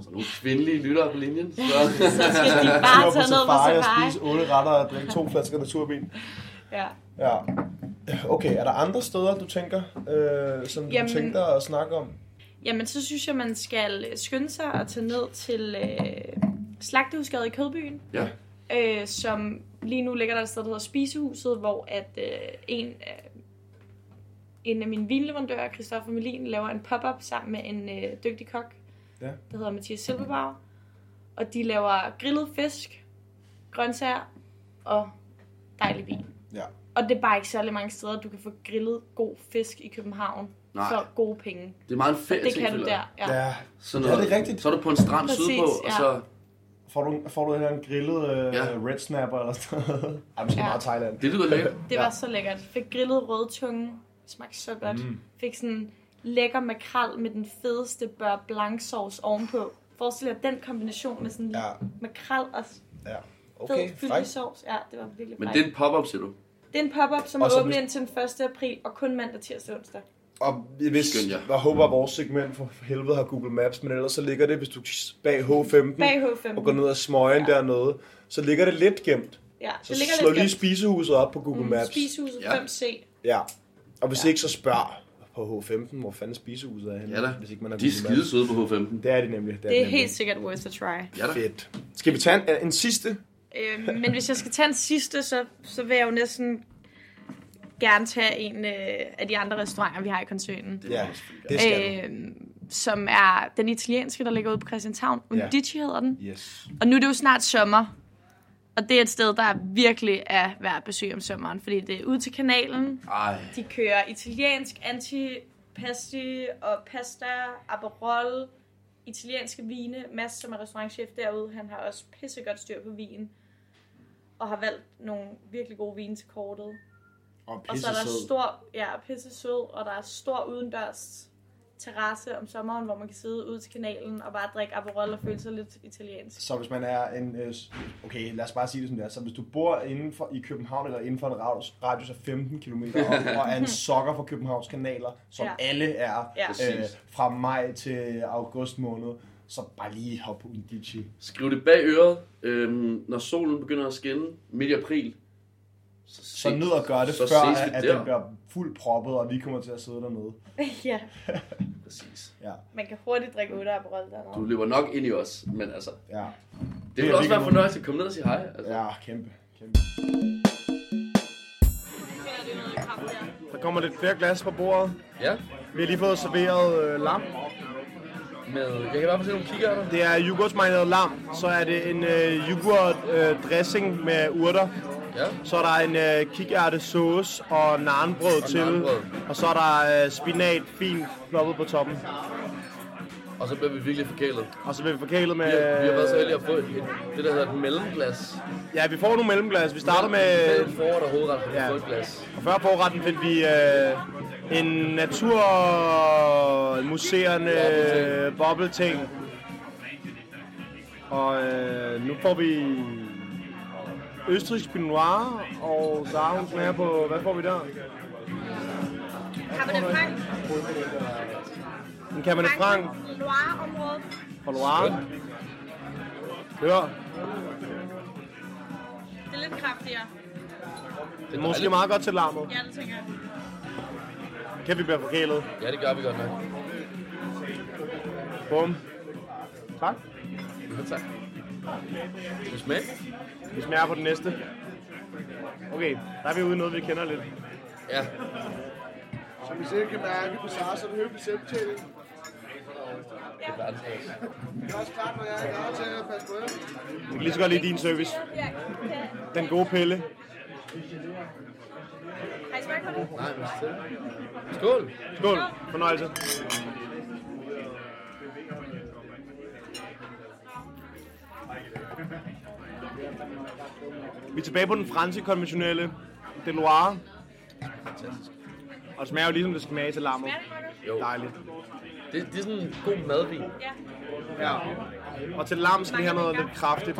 S2: Så nogle kvindelige lyttere på linjen. Så.
S4: Så skal de bare
S5: Køre på
S4: tage ned på
S5: safari og
S4: safari.
S5: spise otte retter og drikke to flasker naturvin.
S4: Ja.
S5: Ja. Okay, er der andre steder, du tænker, øh, som Jamen.
S4: Jamen-
S5: du tænker at snakke om?
S4: Jamen, så synes jeg, man skal øh, skynde sig og tage ned til øh, Slagtehusgade i Kødbyen.
S2: Ja.
S4: Øh, som lige nu ligger der et sted, der hedder Spisehuset, hvor at øh, en, af, en af mine vinleverandører, Christoffer Melin, laver en pop-up sammen med en øh, dygtig kok,
S5: Ja.
S4: der hedder Mathias Silberbauer. Og de laver grillet fisk, grøntsager og dejlig vin.
S5: Ja.
S4: Og det er bare ikke særlig mange steder, du kan få grillet god fisk i København
S2: Nej.
S4: for gode penge.
S2: Det er meget en ferie
S4: Det
S2: ting,
S4: kan du
S2: føler jeg.
S4: der, ja.
S5: ja.
S2: Sådan noget,
S5: Ja, det er rigtigt.
S2: Så er du på en strand
S4: Præcis,
S2: sydpå, og
S4: ja.
S2: så...
S5: Får du, får du en eller anden grillet øh,
S2: Ja.
S5: ja. red snapper eller sådan noget? Ej, måske
S4: Ja.
S5: ja. meget Thailand.
S2: Det lyder lækkert.
S4: Det var så lækkert. Fik grillet rødtunge. Smagte så godt. Mm. Fik sådan lækker makrel med den fedeste bør blanc sauce ovenpå. Forestil jer den kombination med sådan ja.
S5: Ja,
S4: makrel og
S5: okay,
S4: fed
S5: fej.
S4: fyldig sovs. Ja, det var virkelig
S2: Men
S4: frækt.
S2: det er en pop-up, siger du.
S4: det er en pop-up, som
S5: Og så
S4: er åbent
S5: hvis-
S4: indtil den 1. april, og kun mandag, tirsdag og onsdag.
S8: Og hvis,
S2: Skønt, ja.
S8: jeg håber, at vores segment for helvede har Google Maps, men ellers så ligger det, hvis du s- bag H15
S4: Bag H15.
S8: og går ned ad smøgen ja. dernede, så ligger det lidt gemt.
S4: Ja,
S8: Så
S4: det ligger
S8: slå
S4: lidt
S8: lige spisehuset op på
S4: Mm,
S8: Google Maps.
S4: Spisehuset
S2: Ja.
S4: ja. 5C.
S8: Ja. Og hvis ja. ikke, så spørg på H15, hvor fanden spisehuset er henne.
S2: Ja da.
S8: Hvis ikke man har
S2: De er
S8: Google
S2: skide
S8: Maps.
S2: søde på H15.
S8: Det er de nemlig. Det er,
S4: Det
S8: de
S4: er
S8: nemlig.
S4: helt sikkert worth a try.
S2: Ja da.
S8: fedt. Skal vi tage en, en sidste?
S4: Øh, men hvis jeg skal tage en sidste, så, så vil jeg jo næsten gerne tage en øh, af de andre restauranter, vi har i koncernen.
S8: Ja, det skal øh,
S4: øh, som er den italienske, der ligger ude på Christianshavn. Undici hedder den.
S8: Yes.
S4: Og nu er det jo snart sommer. Og det er et sted, der virkelig er værd at besøge om sommeren, fordi det er ud til kanalen.
S2: Ej.
S4: De kører italiensk antipasti og pasta, aperol, italienske vine. Mads, som er restaurantchef derude, han har også pissegodt styr på vin. Og har valgt nogle virkelig gode vine til kortet.
S5: Og
S4: Og så er der
S5: pissesød.
S4: stor, ja, pisse sød, og der er stor udendørs terrasse om sommeren, hvor man kan sidde ud til kanalen og bare drikke Aperol og føle sig lidt italiensk.
S5: Så hvis man er en... øh, s- Okay, lad os bare sige det som det er. Så hvis du bor inden for, i København eller inden for en radius, radius af 15 km op, og er en sokker for Københavns kanaler, som
S4: Ja.
S5: ja. alle er
S4: Ja.
S5: øh, fra maj til august måned, så bare lige hop på Undici.
S2: Skriv det bag øret, øhm, når solen begynder at skinne midt i april. ses-
S5: Så ned og gør det,
S2: så
S5: før
S2: ses vi
S5: at, at
S2: der.
S5: den bliver fuldt proppet, og vi kommer til at sidde dernede.
S4: ja,
S2: Præcis.
S4: man kan hurtigt drikke ud af Aperol
S2: Du
S4: dernede.
S2: løber nok ind i os, men altså,
S5: Ja,
S2: det vil
S5: er
S2: også være
S5: virkelig-
S2: fornøjelse at komme ned og sige hej. Altså.
S5: ja kæmpe. kæmpe.
S8: Der kommer lidt flere glas på bordet.
S2: ja.
S8: Vi har lige fået serveret øh, lam.
S2: Med, jeg kan i hvert fald se nogle kikkerter.
S8: Det er yoghurtsmarineret lam. Så er det en øh, yoghurt øh, dressing med urter.
S2: Ja.
S8: Så er der en øh, kikærte sauce og narnbrød til.
S2: narnbrød.
S8: Og så er der øh, spinat fint ploppet på toppen.
S2: Og så bliver vi virkelig forkælet.
S8: Og så bliver vi forkælet med...
S2: Vi har, vi har været så heldige at få et, et, det, der hedder et mellemglas.
S8: Ja, vi får nogle mellemglas. Vi starter med...
S2: Mellem forret og hovedret på
S8: Ja.
S2: ja. et glas.
S8: Og før forretten fik vi øh, en naturmuseerne øh, bobbelting. Og øh, nu får vi østrigsk Pinot Noir, og der er hun smager på, hvad får vi der?
S4: Cabernet Franc,
S8: En Cabernet Franc
S4: Loire-området.
S8: fra Loire. Hør,
S4: Det er lidt kraftigere.
S2: Det er
S8: måske
S2: dejligt.
S8: meget godt til larmet.
S4: Ja, det tænker jeg.
S8: Kan vi blive forkælet?
S2: Ja, det gør vi godt nok.
S8: Bum. Tak.
S2: Ja, tak. Skal vi smage?
S8: Vi smager på den næste. Okay, der er vi ude i noget, vi kender lidt.
S2: Ja.
S6: Så hvis ikke kan mærke på Sars, så er det højt selvbetjening.
S2: Det er verdensmæs.
S6: Det er også klart, når jeg er klar til at passe på jer.
S8: Vi kan lige så godt lide din service.
S4: Ja.
S8: Den gode pille.
S4: Har I smagt på det?
S2: Nej, men selv. Skål.
S8: Skål. Fornøjelse. Vi er tilbage på den franske konventionelle de Loire. Og det smager jo ligesom det skal smage til lammet.
S4: Smager det godt?
S2: Jo,
S8: Dejligt.
S2: det, det er sådan en god madvin.
S4: Ja.
S8: Ja. Og til lam skal vi have noget lidt kraftigt.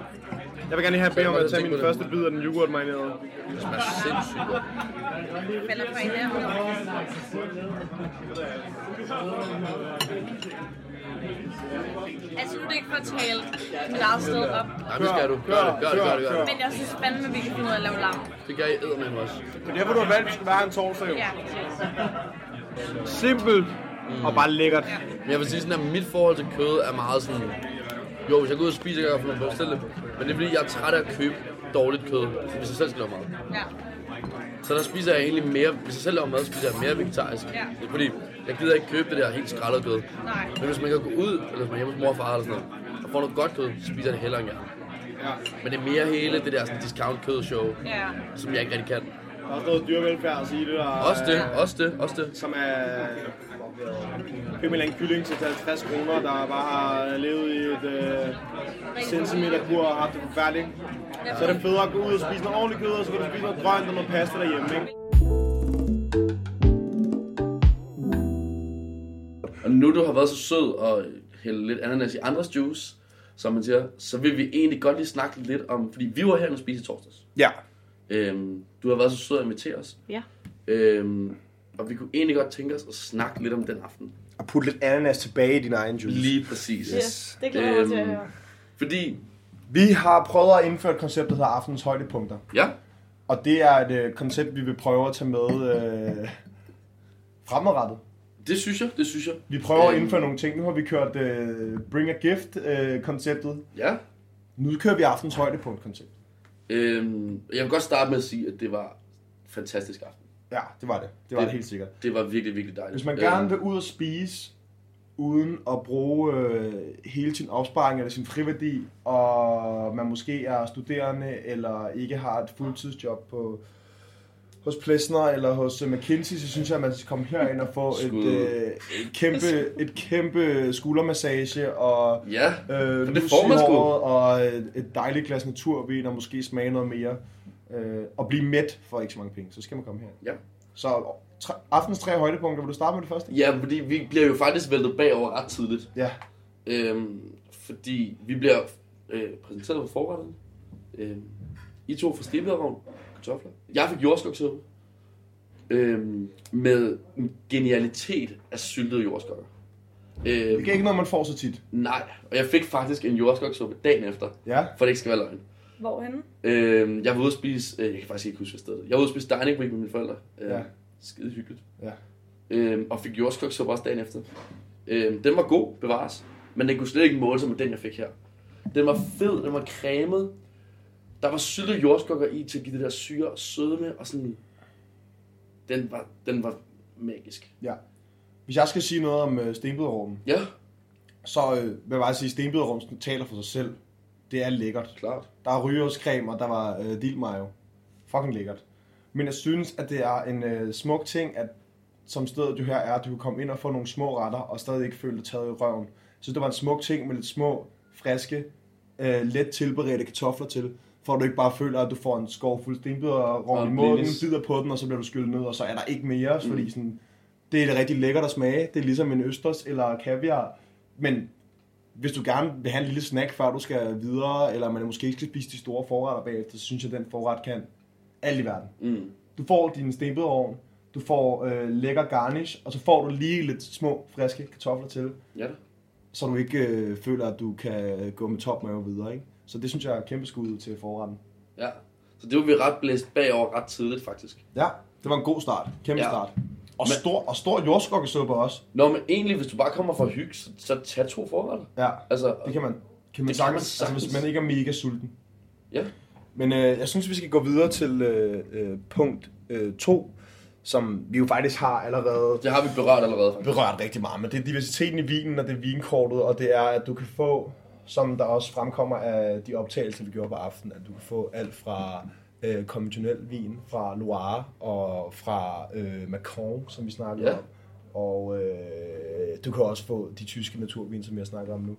S8: Jeg vil gerne lige have bede om at tage min første bid af den yoghurt marinerede.
S2: Det smager sindssygt godt.
S4: Falder fra en der. Altså, nu er det ikke for at tale mit eget sted op.
S2: Nej, det skal du. Gør det, gør det, gør det, gør det.
S4: Men jeg synes fandme, vi kan finde ud af at lave larm.
S2: Det gør jeg eddermame også.
S8: Det er derfor, du har valgt, at vi skal være her en torsdag. jo.
S4: Ja.
S8: Simpelt og bare lækkert.
S2: Men jeg vil sige sådan, at mit forhold til kød er meget sådan... Jo, hvis jeg går ud og spiser, kan jeg godt få noget bestille. Men det er fordi, jeg er træt af at købe dårligt kød, hvis jeg selv skal lave mad.
S4: Ja.
S2: Så der spiser jeg egentlig mere... Hvis jeg selv laver mad, spiser jeg mere vegetarisk.
S4: Ja.
S2: Det er fordi, jeg gider ikke købe det der helt skrællet kød.
S4: Nej.
S2: Men hvis man kan gå ud, eller hvis man er hjemme hos mor og far eller sådan noget, og får noget godt kød, så spiser jeg det hellere end jeg. Men det er mere hele det der sådan, discount kød show,
S4: Ja.
S2: som jeg ikke rigtig kan.
S8: Der er også noget dyrevelfærd at sige det der.
S2: Også det, også det, også det.
S8: som er køb en eller anden kylling til 50 kroner, der bare har levet i et øh, centimeter bur og haft det forfærdeligt. Så er det federe at gå ud og spise noget ordentligt kød, og så kan du spise noget grønt og noget pasta derhjemme, ikke?
S2: Og nu du har været så sød og hælde lidt ananas i andres juice, som man siger, så vil vi egentlig godt lige snakke lidt om, fordi vi var her og spise i torsdags.
S8: Ja.
S2: Øhm, du har været så sød at invitere os.
S4: Ja.
S2: Øhm, og vi kunne egentlig godt tænke os at snakke lidt om den aften.
S8: Og putte lidt ananas tilbage i din egen juice.
S2: Lige præcis. Øhm,
S4: Yes. Øhm. Det glæder jeg mig til at høre.
S2: Fordi,
S5: Vi har prøvet at indføre et koncept, der hedder aftenens højdepunkter.
S2: ja,
S5: Og det er et øh, koncept, vi vil prøve at tage med øh, fremadrettet.
S2: det synes jeg, det synes jeg.
S5: Vi prøver
S8: Øh.
S5: at
S2: Øhm.
S5: indføre nogle ting. Nu har vi kørt øh, Bring a Gift-konceptet.
S2: Ja.
S5: nu kører vi aftens højdepunkt-koncept.
S2: Øhm, jeg vil godt starte med at sige, at det var en fantastisk aften.
S5: Ja, det var det. Det var
S2: Det-
S5: det, helt sikkert.
S2: Det var virkelig, virkelig dejligt. Øhm,
S5: Hvis man
S2: Øh.
S5: gerne vil ud og spise, uden at bruge øh, hele sin opsparing eller sin friværdi, og man måske er studerende, eller ikke har et fuldtidsjob på hos Plessner eller hos øh, McKinsey, så synes jeg, at man skal komme herind og få et,
S2: Skud.
S5: øh, et, kæmpe, et kæmpe skuldermassage og
S2: Ja,
S5: øh,
S2: det
S5: lus
S2: får
S5: i
S2: man sgu.
S5: håret og et, et dejligt glas naturvin og måske smage noget mere. Øh, og blive mæt for ikke så mange penge, så skal man komme her.
S2: Ja.
S5: Så tre, aftens tre højdepunkter, vil du starte med det første?
S2: ja, fordi vi bliver jo faktisk væltet bagover ret tidligt.
S5: Ja.
S2: Øhm, fordi vi bliver øh, præsenteret på forretten. Øhm, I to får stillbederovn, kartofler. Jeg fik jordskogssuppe. Øhm, med en genialitet af syltede jordskokker. Øhm,
S5: Det er ikke noget, man får så tit.
S2: Nej, og jeg fik faktisk en jordskogssuppe dagen efter,
S5: Ja.
S2: for det ikke skal være løgn.
S4: Hvorhenne?
S2: Øh, jeg var ude at spise, øh, jeg kan faktisk ikke huske, hvad stedet er. Jeg var ude at spise dining week med mine forældre. Øh,
S5: Ja.
S2: Skide hyggeligt.
S5: Ja.
S2: Øh, og fik jordskogssuppe også dagen efter. Øh, den var god, bevares, men den kunne slet ikke måle sig med den, jeg fik her. Den var fed, den var cremet. Der var syltede jordskokker i til at give det der syre og sødme og sådan... Den var, den var magisk.
S5: Hvis jeg skal sige noget om øh, stenbiderrummen,
S2: Ja,
S5: så øh, vil jeg bare sige, at stenbiderrummen taler for sig selv. Det er lækkert.
S2: klart.
S5: Der er rygeårscreme, og der var øh, dildmayo. Fucking lækkert. Men jeg synes, at det er en øh, smuk ting, at som stedet jo her er, at du kan komme ind og få nogle små retter, og stadig ikke føle dig taget i røven.
S8: synes, det var en smuk ting med lidt små, friske, øh, let tilberedte kartofler til, for at du ikke bare føler, at du får en skovfuld stenbider rom
S2: Og
S8: i munden,
S2: blindes.
S8: bider på den, og så bliver du skyllet ned, og så er der ikke mere, mm. fordi sådan, det er det rigtig lækkert at smage. Det er ligesom en østers eller kaviar, men hvis du gerne vil have en lille snack, før du skal videre, eller man måske ikke skal spise de store forretter bagefter, så synes jeg, at den forret kan alt i verden.
S2: Mm.
S8: Du får din stenbøderovn, du får øh, lækker garnish, og så får du lige lidt små, friske kartofler til,
S2: Ja da.
S8: så du ikke øh, føler, at du kan øh, gå med topmave videre. Ikke? Så det synes jeg er et kæmpe skud til forretten.
S2: Ja. Så det var vi ret blæst bagover ret tidligt, faktisk.
S8: Ja, det var en god start. Kæmpe
S2: Ja.
S8: ja. start. Og
S2: Men-
S8: stor, og stor jordskokkesuppe også.
S2: Nå, men egentlig, hvis du bare kommer for at hygge, så, så tag to forretter.
S8: Ja,
S2: Altså,
S8: det kan man, kan man,
S2: man
S8: sagtens,
S2: sagtens.
S8: Altså, hvis man ikke er mega sulten.
S5: Men øh, jeg synes, vi skal gå videre til øh, øh, punkt 2, øh, to, som vi jo faktisk har allerede
S2: det har vi berørt allerede, faktisk.
S5: berørt rigtig meget, men det er diversiteten i vinen, og det er vinkortet, og det er, at du kan få, som der også fremkommer af de optagelser, vi gjorde på aftenen, at du kan få alt fra øh, konventionel vin, fra Loire og fra øh, Macron, som vi snakkede
S2: Ja.
S5: om, og øh, du kan også få de tyske naturvin, som jeg snakker om nu,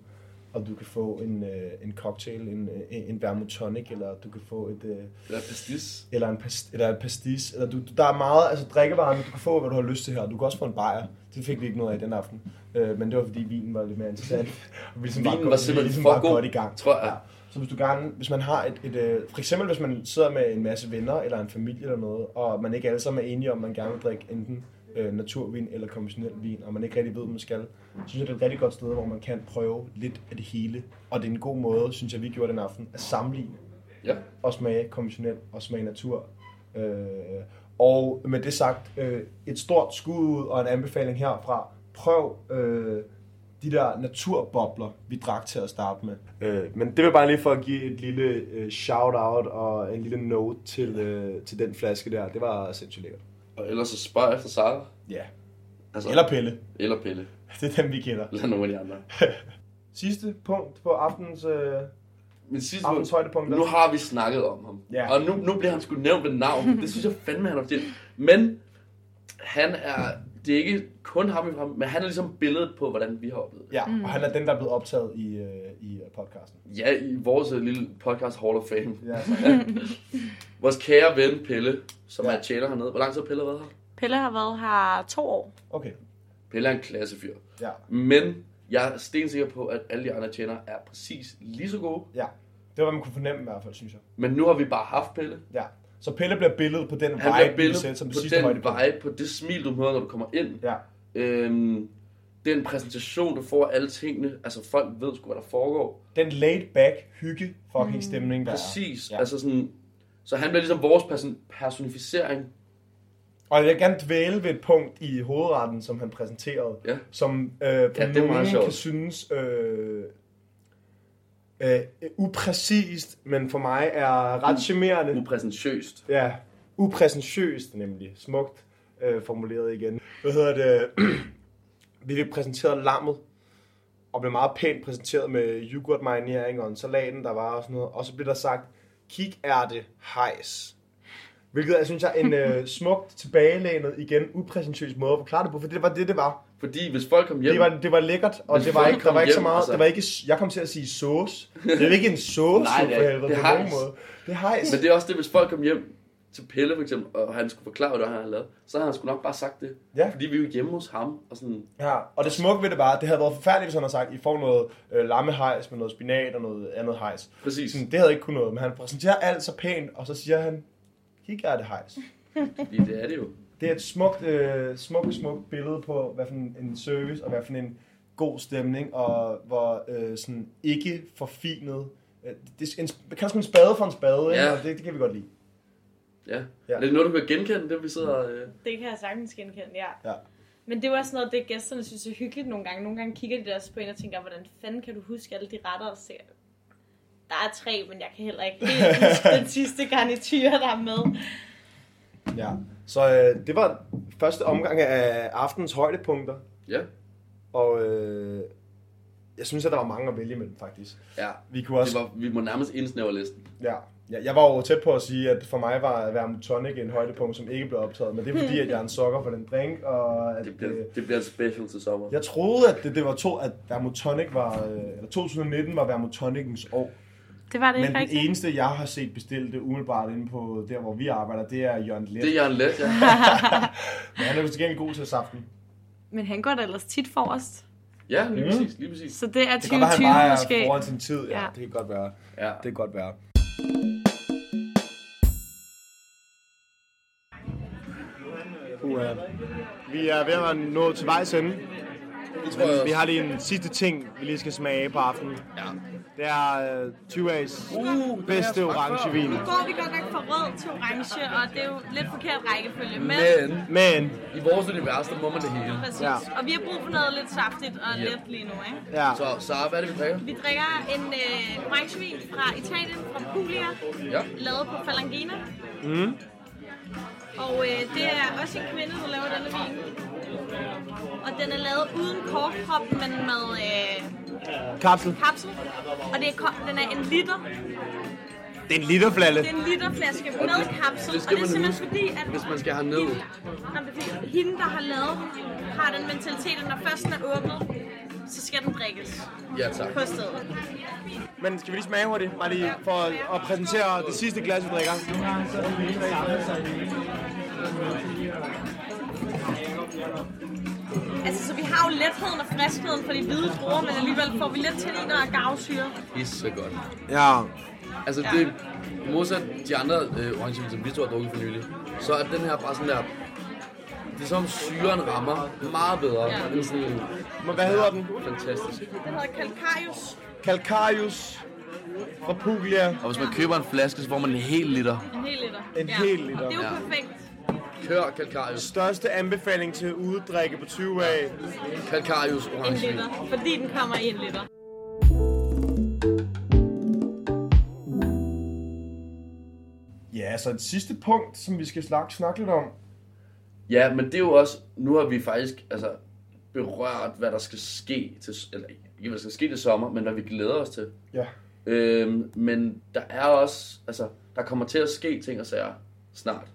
S5: og du kan få en, øh, en cocktail, en, øh, en vermouth tonic, eller du kan få et... Øh,
S2: Ja, pastis.
S5: eller en, past, eller en pastis, eller du, der er meget, altså drikkevarerne, du kan få, hvad du har lyst til her, du kan også få en bajer, det fik vi ikke noget af den aften, øh, men det var fordi vinen var lidt mere interessant, og vi ligesom
S2: Vinen
S5: bare
S2: var
S5: godt-
S2: simpelthen
S5: vi ligesom
S2: for
S5: bare
S2: god,
S5: godt i gang,
S2: tror jeg.
S5: Så hvis du gerne, hvis man har et, et øh, for eksempel hvis man sidder med en masse venner, eller en familie eller noget, og man ikke alle sammen er enige om, man gerne vil drikke enten øh, naturvin eller konventionel vin, og man ikke rigtig ved, hvad man skal, så synes jeg, det er et rigtig godt sted, hvor man kan prøve lidt af det hele, og det er en god måde, synes jeg, vi gjorde den aften, at sammenligne
S2: Ja.
S5: og smage konventionel og smage natur. Øh, og med det sagt, øh, et stort skud ud og en anbefaling herfra. Prøv øh, de der naturbobler, vi drak til at starte med. Øh, men det vil bare lige for at give et lille øh, shout-out og en lille note til, øh, til den flaske der. Det var sindssygt lækkert.
S2: Og ellers så spørg efter Sara.
S5: Ja.
S2: Altså,
S5: Eller Pelle.
S2: eller Pelle.
S5: Det er dem, vi kender.
S2: Eller nogle af de andre.
S5: Sidste punkt på aftens, øh,
S2: Men sidste
S5: aftens højdepunkt.
S2: Nu har vi snakket om ham.
S5: Ja.
S2: Og nu, nu bliver han sgu nævnt ved navn. Det synes jeg fandme, han har fortjent. Men han er... Det er ikke kun ham, vi har- men han er ligesom billedet på, hvordan vi har oplevet det.
S5: Ja, og han er den, der er blevet optaget i, øh, i øh, podcasten.
S2: Ja, i vores øh, lille podcast Hall of Fame.
S5: Ja,
S2: Vores kære ven Pelle, som
S5: Ja.
S2: er tjener hernede. Hvor lang tid har Pelle været her?
S4: Pelle har været her to år.
S5: okay.
S2: Pelle er en klassefyr.
S5: Ja.
S2: Men jeg er stensikker på, at alle de andre tjener er præcis lige så gode.
S5: Ja, det var, hvad man kunne fornemme i hvert fald, synes jeg.
S2: Men nu har vi bare haft Pelle.
S5: Ja. Så Pelle bliver billedet på den
S2: Han
S5: vibe,
S2: bliver
S5: vi vil sætte
S2: billedet
S5: som det
S2: på
S5: sidste
S2: den
S5: højdepunkt.
S2: vibe, på det smil, du møder, når du kommer ind.
S5: Ja,
S2: Øhm, den præsentation, du får af alle tingene, altså folk ved sgu, hvad der foregår.
S5: den laid back, hygge fucking mm. stemning, der
S2: Præcis.
S5: er.
S2: Ja.
S5: Ja.
S2: Altså sådan, så han bliver ligesom vores person- personificering.
S5: Og jeg vil gerne dvæle ved et punkt i hovedretten, som han præsenterede,
S2: Ja.
S5: som øh, på
S2: Ja,
S5: ja,
S2: det er meget
S5: nogen
S2: sjovt.
S5: kan synes øh, øh, upræcist, men for mig er
S2: Mm.
S5: ret charmerende.
S2: Upræsentøst.
S5: Ja, upræsentiøst nemlig. Smukt øh, formuleret igen. Hvad hedder det? vi fik præsenteret lammet, og blev meget pænt præsenteret med yoghurtmarinering og en salaten, der var og sådan noget. Og så blev der sagt, kikærte hejs. Hvilket jeg synes er en øh, smukt tilbagelænet, igen upræsentiøs måde at forklare det på, for det var det, det var.
S2: Fordi hvis folk kom hjem,
S5: Det var, det var lækkert, og
S2: Hvis
S5: det var
S2: folk
S5: ikke, der var
S2: kom
S5: ikke så
S2: hjem,
S5: meget,
S2: altså.
S5: det var ikke, jeg kom til at sige sauce. Det er jo ikke en sauce,
S2: Nej,
S5: jo,
S2: det er-
S5: for helvede,
S2: det er
S5: på nogen
S2: hejs.
S5: måde. Det er hejs.
S2: men det er også det, hvis folk kom hjem til Pelle for eksempel, og han skulle forklare, hvad det var, han havde lavet, så havde han sgu nok bare sagt det.
S5: Ja.
S2: Fordi vi er jo hjemme hos ham, og sådan,
S5: Ja, og det smukke ved det var, at det havde været forfærdeligt, hvis han havde sagt, I får noget øh, lammehejs med noget spinat og noget andet hejs.
S2: præcis,
S5: Sådan, det havde ikke kunnet noget, men han præsenterer alt så pænt, og så siger han, kikærte hejs.
S2: fordi det er det jo.
S5: Det er et smukt, øh, smukt, smukt billede på, hvad for en en service og hvad for en god stemning, og hvor øh, sådan ikke forfinet. Øh, det er en, man kalder sgu en spade for en spade, ikke?
S2: Ja.
S5: og det, det kan vi godt lide.
S2: Ja.
S5: Ja.
S2: ja. Er det noget, du kan genkende, det vi sidder... Øh...
S4: Det kan jeg sagtens genkende, ja.
S5: Ja.
S4: Men det er jo også noget, det gæsterne synes er hyggeligt nogle gange. Nogle gange kigger de der også på en og tænker, hvordan fanden kan du huske alle de retter? Og så siger jeg, der er tre, men jeg kan heller ikke helt huske den sidste garnityr, der er med.
S5: Ja. Så øh, det var første omgang af aftens højdepunkter.
S2: Ja.
S5: Og øh,
S8: jeg synes, at der var mange at vælge imellem, faktisk.
S2: Ja.
S8: Vi kunne
S2: Det
S8: også...
S2: var, vi må nærmest indsnævre listen.
S8: Ja. ja. Jeg var jo tæt på at sige, at for mig var Vermouth Tonic en højdepunkt, som ikke blev optaget. Men det er fordi, at jeg er en sokker for den drink, og at,
S2: Det
S8: øh,
S2: bliver, det bliver et special til sommer.
S8: Jeg troede, at det, det var to, at Vermouth Tonic var, øh, eller 2019 var Vermouth Tonicens år.
S4: Det var det
S8: Men
S4: ikke
S8: den
S4: rigtigt.
S8: eneste, jeg har set bestilt det umiddelbart inde på der, hvor vi arbejder, det er Jørgen Let.
S2: Det er Jørgen Let, ja.
S8: Men han er jo til gengæld god til saften.
S4: Men han går da ellers tit forrest.
S2: Ja, lige præcis, lige præcis.
S4: Så det er
S8: Det kan godt være,
S4: 2020
S8: han bare
S4: måske.
S8: er foran sin tid. Ja,
S4: Ja.
S8: ja. det kan godt være.
S2: Ja.
S8: Det kan godt være.
S3: Uha. Vi er ved at være nået til vejs ende.
S2: Det tror jeg
S8: Vi
S2: også.
S8: har lige en sidste ting, vi lige skal smage af på aftenen.
S2: Ja.
S8: Det er øh, 20A's
S2: Uh,
S8: bedste orangevin.
S4: Nu går vi godt nok fra rød til orange, og det er jo lidt forkert rækkefølge. Men,
S2: Men
S8: Men,
S2: i vores univers, der må man det hele.
S4: præcis.
S8: Ja.
S4: Og vi har brug for noget lidt saftigt og
S2: Ja.
S4: let lige nu, ikke?
S8: ja,
S2: Så, så hvad er det, vi drikker?
S4: Vi drikker en øh, orangevin fra Italien, fra Puglia,
S2: Ja.
S4: lavet på Falangina. Mm. Og øh, det er også en kvinde, der laver denne vin. Og den er lavet uden korkprop, men med øh,
S8: kapsel.
S4: kapsel. Og det er, ko- den er en liter.
S8: Det er en literflalle.
S4: Det er en literflaske med kapsel.
S2: det skal
S4: Og det er
S2: man
S4: simpelthen
S2: huske,
S4: fordi, at
S2: hvis man skal herned.
S4: Hende, Nå, men det er fordi, hende, der har lavet den, har den mentalitet, at når først den er åbnet, så skal den drikkes
S2: Ja, tak.
S4: på stedet.
S8: Men skal vi lige smage hurtigt, bare lige for at- at præsentere det sidste glas, vi drikker.
S4: Altså, så vi har jo letheden og friskheden fra de hvide druer, men alligevel får vi lidt tanniner og gavsyre.
S2: Pisse godt.
S8: Ja,
S2: Altså, det er modsat de andre øh, orangevin, som vi to har drukket for nylig, så er den her bare sådan der... Det er som om syren rammer meget bedre.
S4: Ja.
S2: Ja. Den er sådan
S8: men hvad hedder den?
S2: fantastisk.
S4: Den hedder Calcarius.
S8: Calcarius fra Puglia.
S2: Og hvis man køber en flaske, så får man en hel liter.
S4: En hel liter.
S8: En hel liter.
S4: Og det er jo
S2: Ja.
S4: perfekt.
S2: Kør Calcarius.
S8: Største anbefaling til uddrikke på 20 af.
S2: Calcarius
S4: En
S2: orangevin.
S4: liter. Fordi den kommer i en liter.
S8: Ja, så et sidste punkt, som vi skal snakke, snakke lidt om.
S2: Ja, men det er jo også, nu har vi faktisk altså, berørt, hvad der skal ske til, eller ikke hvad der skal ske til sommer, men hvad vi glæder os til.
S8: Ja.
S2: Øhm, men der er også, altså, der kommer til at ske ting og sager snart.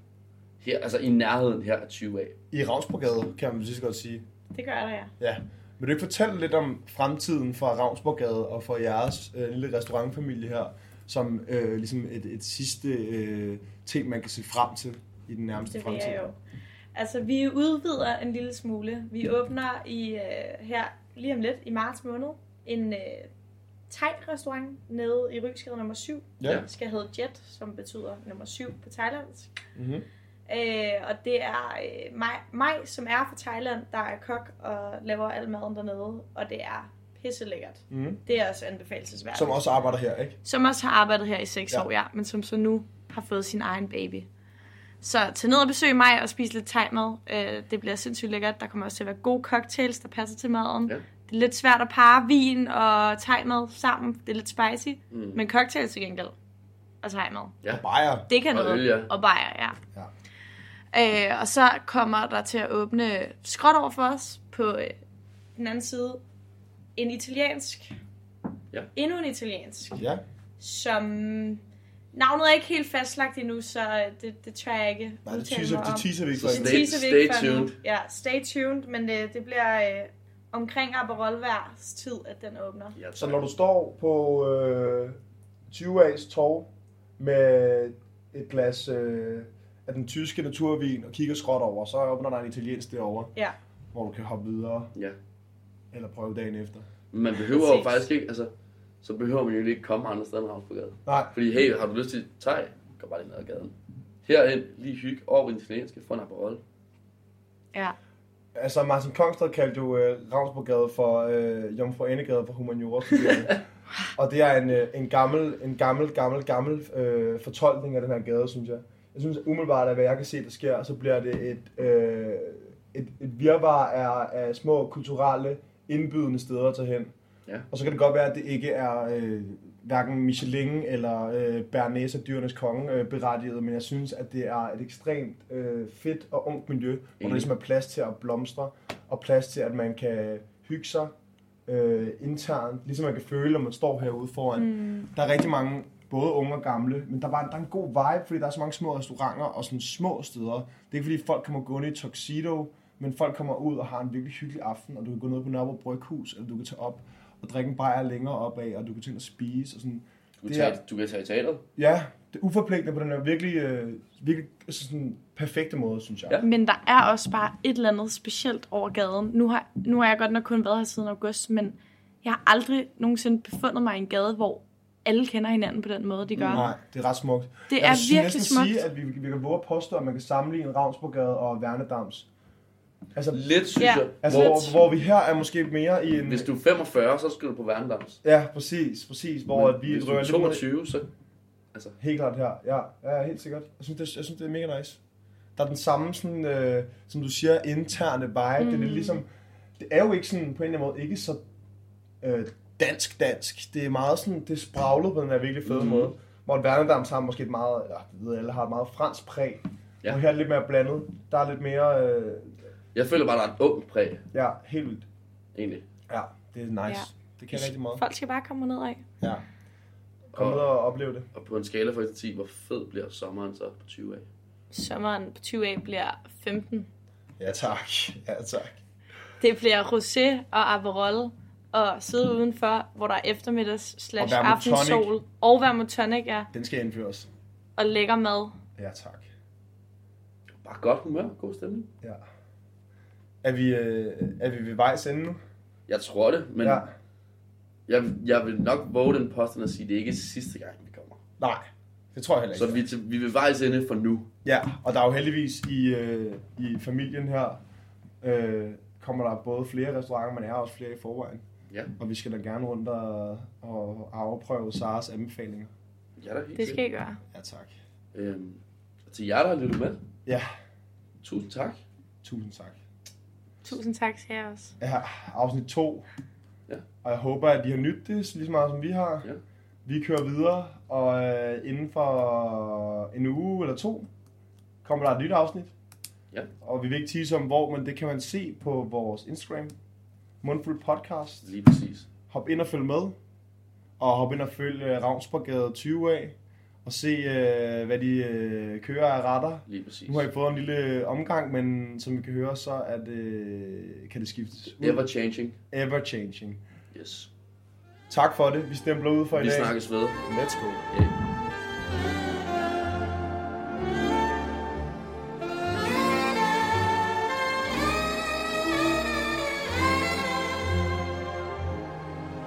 S2: Her, altså i nærheden her af 20 af.
S8: I Ravnsborgade, kan man lige så godt sige.
S4: Det gør der, ja.
S8: Ja. Vil du ikke fortælle lidt om fremtiden for Ravnsborgade og for jeres øh, lille restaurantfamilie her, som øh, ligesom et, et sidste øh, ting, man kan se frem til i den nærmeste
S4: Det vil
S8: fremtid?
S4: jeg jo. Altså, vi udvider en lille smule. Vi
S8: Mm.
S4: åbner i øh, her lige om lidt i marts måned en øh, thai-restaurant nede i Rysgade nummer 7.
S8: Ja.
S4: Den skal hedde Jet, som betyder nummer 7 på thailandsk.
S8: Mhm.
S4: Øh, og det er øh, mig, mig, som er fra Thailand, der er kok og laver al maden dernede. Og det er pisse lækkert.
S8: Mhm.
S4: Det er også anbefalesværdigt.
S8: Som også arbejder her, ikke?
S4: Som også har arbejdet her i 6
S8: Ja.
S4: ja. år, ja, men som så nu har fået sin egen baby. Så tag ned og besøg mig og spis lidt thai-mad. Øh, det bliver sindssygt lækkert. Der kommer også til at være gode cocktails, der passer til maden.
S2: Ja.
S4: Ja. Det er lidt svært at parre vin og thai-mad sammen. Det er lidt spicy. Mm. Men cocktails til gengæld. Og thai-mad.
S2: Ja.
S8: Bajer.
S4: Det kan
S2: Og
S4: noget.
S2: øl, ja.
S4: Og bajer, ja. ja. Øh, og så kommer der til at åbne skråt over for os på øh, den anden side. En italiensk.
S2: Ja.
S4: Endnu en italiensk
S8: Ja.
S4: som... Navnet er ikke helt fastlagt endnu, så det, det tør jeg ikke
S8: Nej, det
S4: udtale
S8: teaser,
S4: mig
S8: det
S4: om.
S8: teaser vi ikke
S2: Så
S8: for
S4: Det
S8: endnu.
S2: Stay-
S4: teaser vi ikke
S2: stay
S4: for nu.
S2: tuned.
S4: Ja, stay tuned, men det, det bliver øh, omkring Aperolværs tid, at den åbner.
S2: Ja, tak.
S8: Så når du står på øh, 20A's torv med et glas øh, af den tyske naturvin og kigger skråt over, så åbner der en italiensk derovre,
S4: Ja.
S8: hvor du kan hoppe videre
S2: Ja.
S8: eller prøve dagen efter.
S2: Men man behøver jo
S4: Præcis.
S2: faktisk ikke, altså, så behøver man jo ikke komme andre steder end Ravnsborgade.
S8: Nej,
S2: Fordi, hey, har du lyst til teg? Gå bare lige ned ad gaden. Herind, lige hygge over i den italienske, få en Aperol.
S4: ja.
S8: altså Martin Kongstad kaldte jo øh, Ravnsborgade for øh, Jomfru Anegade for humaniora Og det er en, øh, en gammel, en gammel, gammel, gammel øh, fortolkning af den her gade, synes jeg. Jeg synes umiddelbart, at hvad jeg kan se, der sker, så bliver det et, øh, et, et virvar af, af små kulturelle indbydende steder at tage hen.
S2: Ja.
S8: Og så kan det godt være, at det ikke er øh, hverken Michelin eller øh, Bernese dyrenes konge øh, berettiget, men jeg synes, at det er et ekstremt øh, fedt og ungt miljø, hvor der
S2: Enig.
S8: ligesom er plads til at blomstre, og plads til, at man kan hygge sig,
S5: øh, internt, ligesom man kan føle, når man står herude foran. Mm. Der er rigtig mange, både unge og gamle, men der, var, der er en god vibe, fordi der er så mange små restauranter og sådan små steder. Det er ikke fordi folk kommer gående i tuxedo, men folk kommer ud og har en virkelig hyggelig aften, og du kan gå ned på Nørrebro Bryghus, eller du kan tage op og drikke en bajer længere opad, og du kan tænke at spise og sådan.
S2: Du kan,
S5: Det er-
S2: tage, du kan tage i teateret.
S5: Ja, det er uforpligtende på den her virkelig, øh, virkelig altså sådan, perfekte måde, synes jeg.
S2: Ja.
S4: Men der er også bare et eller andet specielt over gaden. Nu har, nu har jeg godt nok kun været her siden august, men jeg har aldrig nogensinde befundet mig i en gade, hvor alle kender hinanden på den måde, de gør.
S5: Nej, det er ret smukt.
S4: Det
S5: jeg
S4: er
S5: vil sige-
S4: virkelig
S5: næsten
S4: smukt.
S5: sige, at vi, vi kan våge at påstå, at man kan sammenligne Ravnsborggade og Værnedams. Altså,
S2: Lidt, synes
S4: Ja.
S2: jeg.
S5: altså
S2: hvor,
S5: hvor, hvor, vi her er måske mere i en...
S2: hvis du er 45, så skal du på værendams.
S5: Ja, præcis, præcis, hvor at vi
S2: Hvis du er
S5: rører lidt mod-
S2: 22, så...
S5: Helt klart her, ja, ja helt sikkert. Jeg synes, det, jeg synes, det er mega nice. Der er den samme, sådan, øh, som du siger, interne vibe. Mm. Det er lidt ligesom, det er jo ikke sådan, på en eller anden måde, ikke så øh, dansk-dansk. Det er meget sådan, det er spraglet på den her virkelig fede mm. måde. Hvor en Vernedams har måske et meget, eller det ved alle, har et meget fransk præg.
S2: Ja.
S5: Ja. Og her er det lidt mere blandet. Der er lidt mere, øh,
S2: Jeg føler bare, der er et ung præg,
S5: ja, helt vildt.
S2: egentlig.
S5: Ja, det er nice.
S4: Ja.
S5: Ja. Det kan jeg rigtig meget.
S4: Folk skal bare komme ned af.
S5: Ja. Kom
S2: Og-
S5: ned og opleve det.
S2: Og på en skala fra 1 til 10, hvor fed bliver sommeren så på 20 af?
S4: Sommeren på 20A bliver 15.
S5: Ja tak, ja tak.
S4: Det bliver rosé og aperol og sidde udenfor, hvor der er eftermiddags slash
S5: Og vermouth tonic.
S4: aftensol og vermouth tonic er,
S5: Den skal indføres.
S4: og lækker mad.
S5: Ja tak.
S2: Bare godt humør, god stemning.
S5: Ja. Er vi, øh, er vi ved vejs ende nu?
S2: Jeg tror det, men ja. jeg, jeg vil nok våge den påstand at sige, at det ikke er sidste gang, vi kommer.
S5: Nej, det tror jeg heller
S2: Så
S5: ikke.
S2: vi, er til, vi vil vejs ende for nu.
S5: Ja, og der er jo heldigvis i, øh, i familien her, øh, kommer der både flere restauranter, men er også flere i forvejen.
S2: Ja.
S5: Og vi skal da gerne rundt og, og afprøve Saras anbefalinger.
S2: Ja, da, helt
S4: Det skal
S2: sikkert.
S4: I gøre.
S5: Ja, tak.
S2: Øhm, og til jer, der har lyttet med,
S5: Ja,
S2: tusind tak.
S5: tusind tak.
S4: Tusind tak til jer også.
S5: Ja, afsnit 2.
S2: Ja.
S5: Og jeg håber, at de har nydt det lige så meget, som vi har.
S2: Ja.
S5: Vi kører videre, og øh, inden for en uge eller to, kommer der et nyt afsnit.
S2: Ja.
S5: Og vi vil ikke tease om hvor, men det kan man se på vores Instagram. Mundfuld podcast.
S2: Lige præcis.
S5: Hop ind og følg med. Og hop ind og følg øh, Ravnsborggade 20 af. Og se, øh, hvad de øh, kører af retter.
S2: Lige præcis.
S5: Nu har I fået en lille øh, omgang, men som vi kan høre, så er det, kan det skiftes ud.
S2: Ever changing.
S5: Ever changing.
S2: Yes.
S5: Tak for det. Vi stempler ud for i
S2: Vi
S5: dag.
S2: snakkes ved.
S5: Let's go.
S2: Yeah.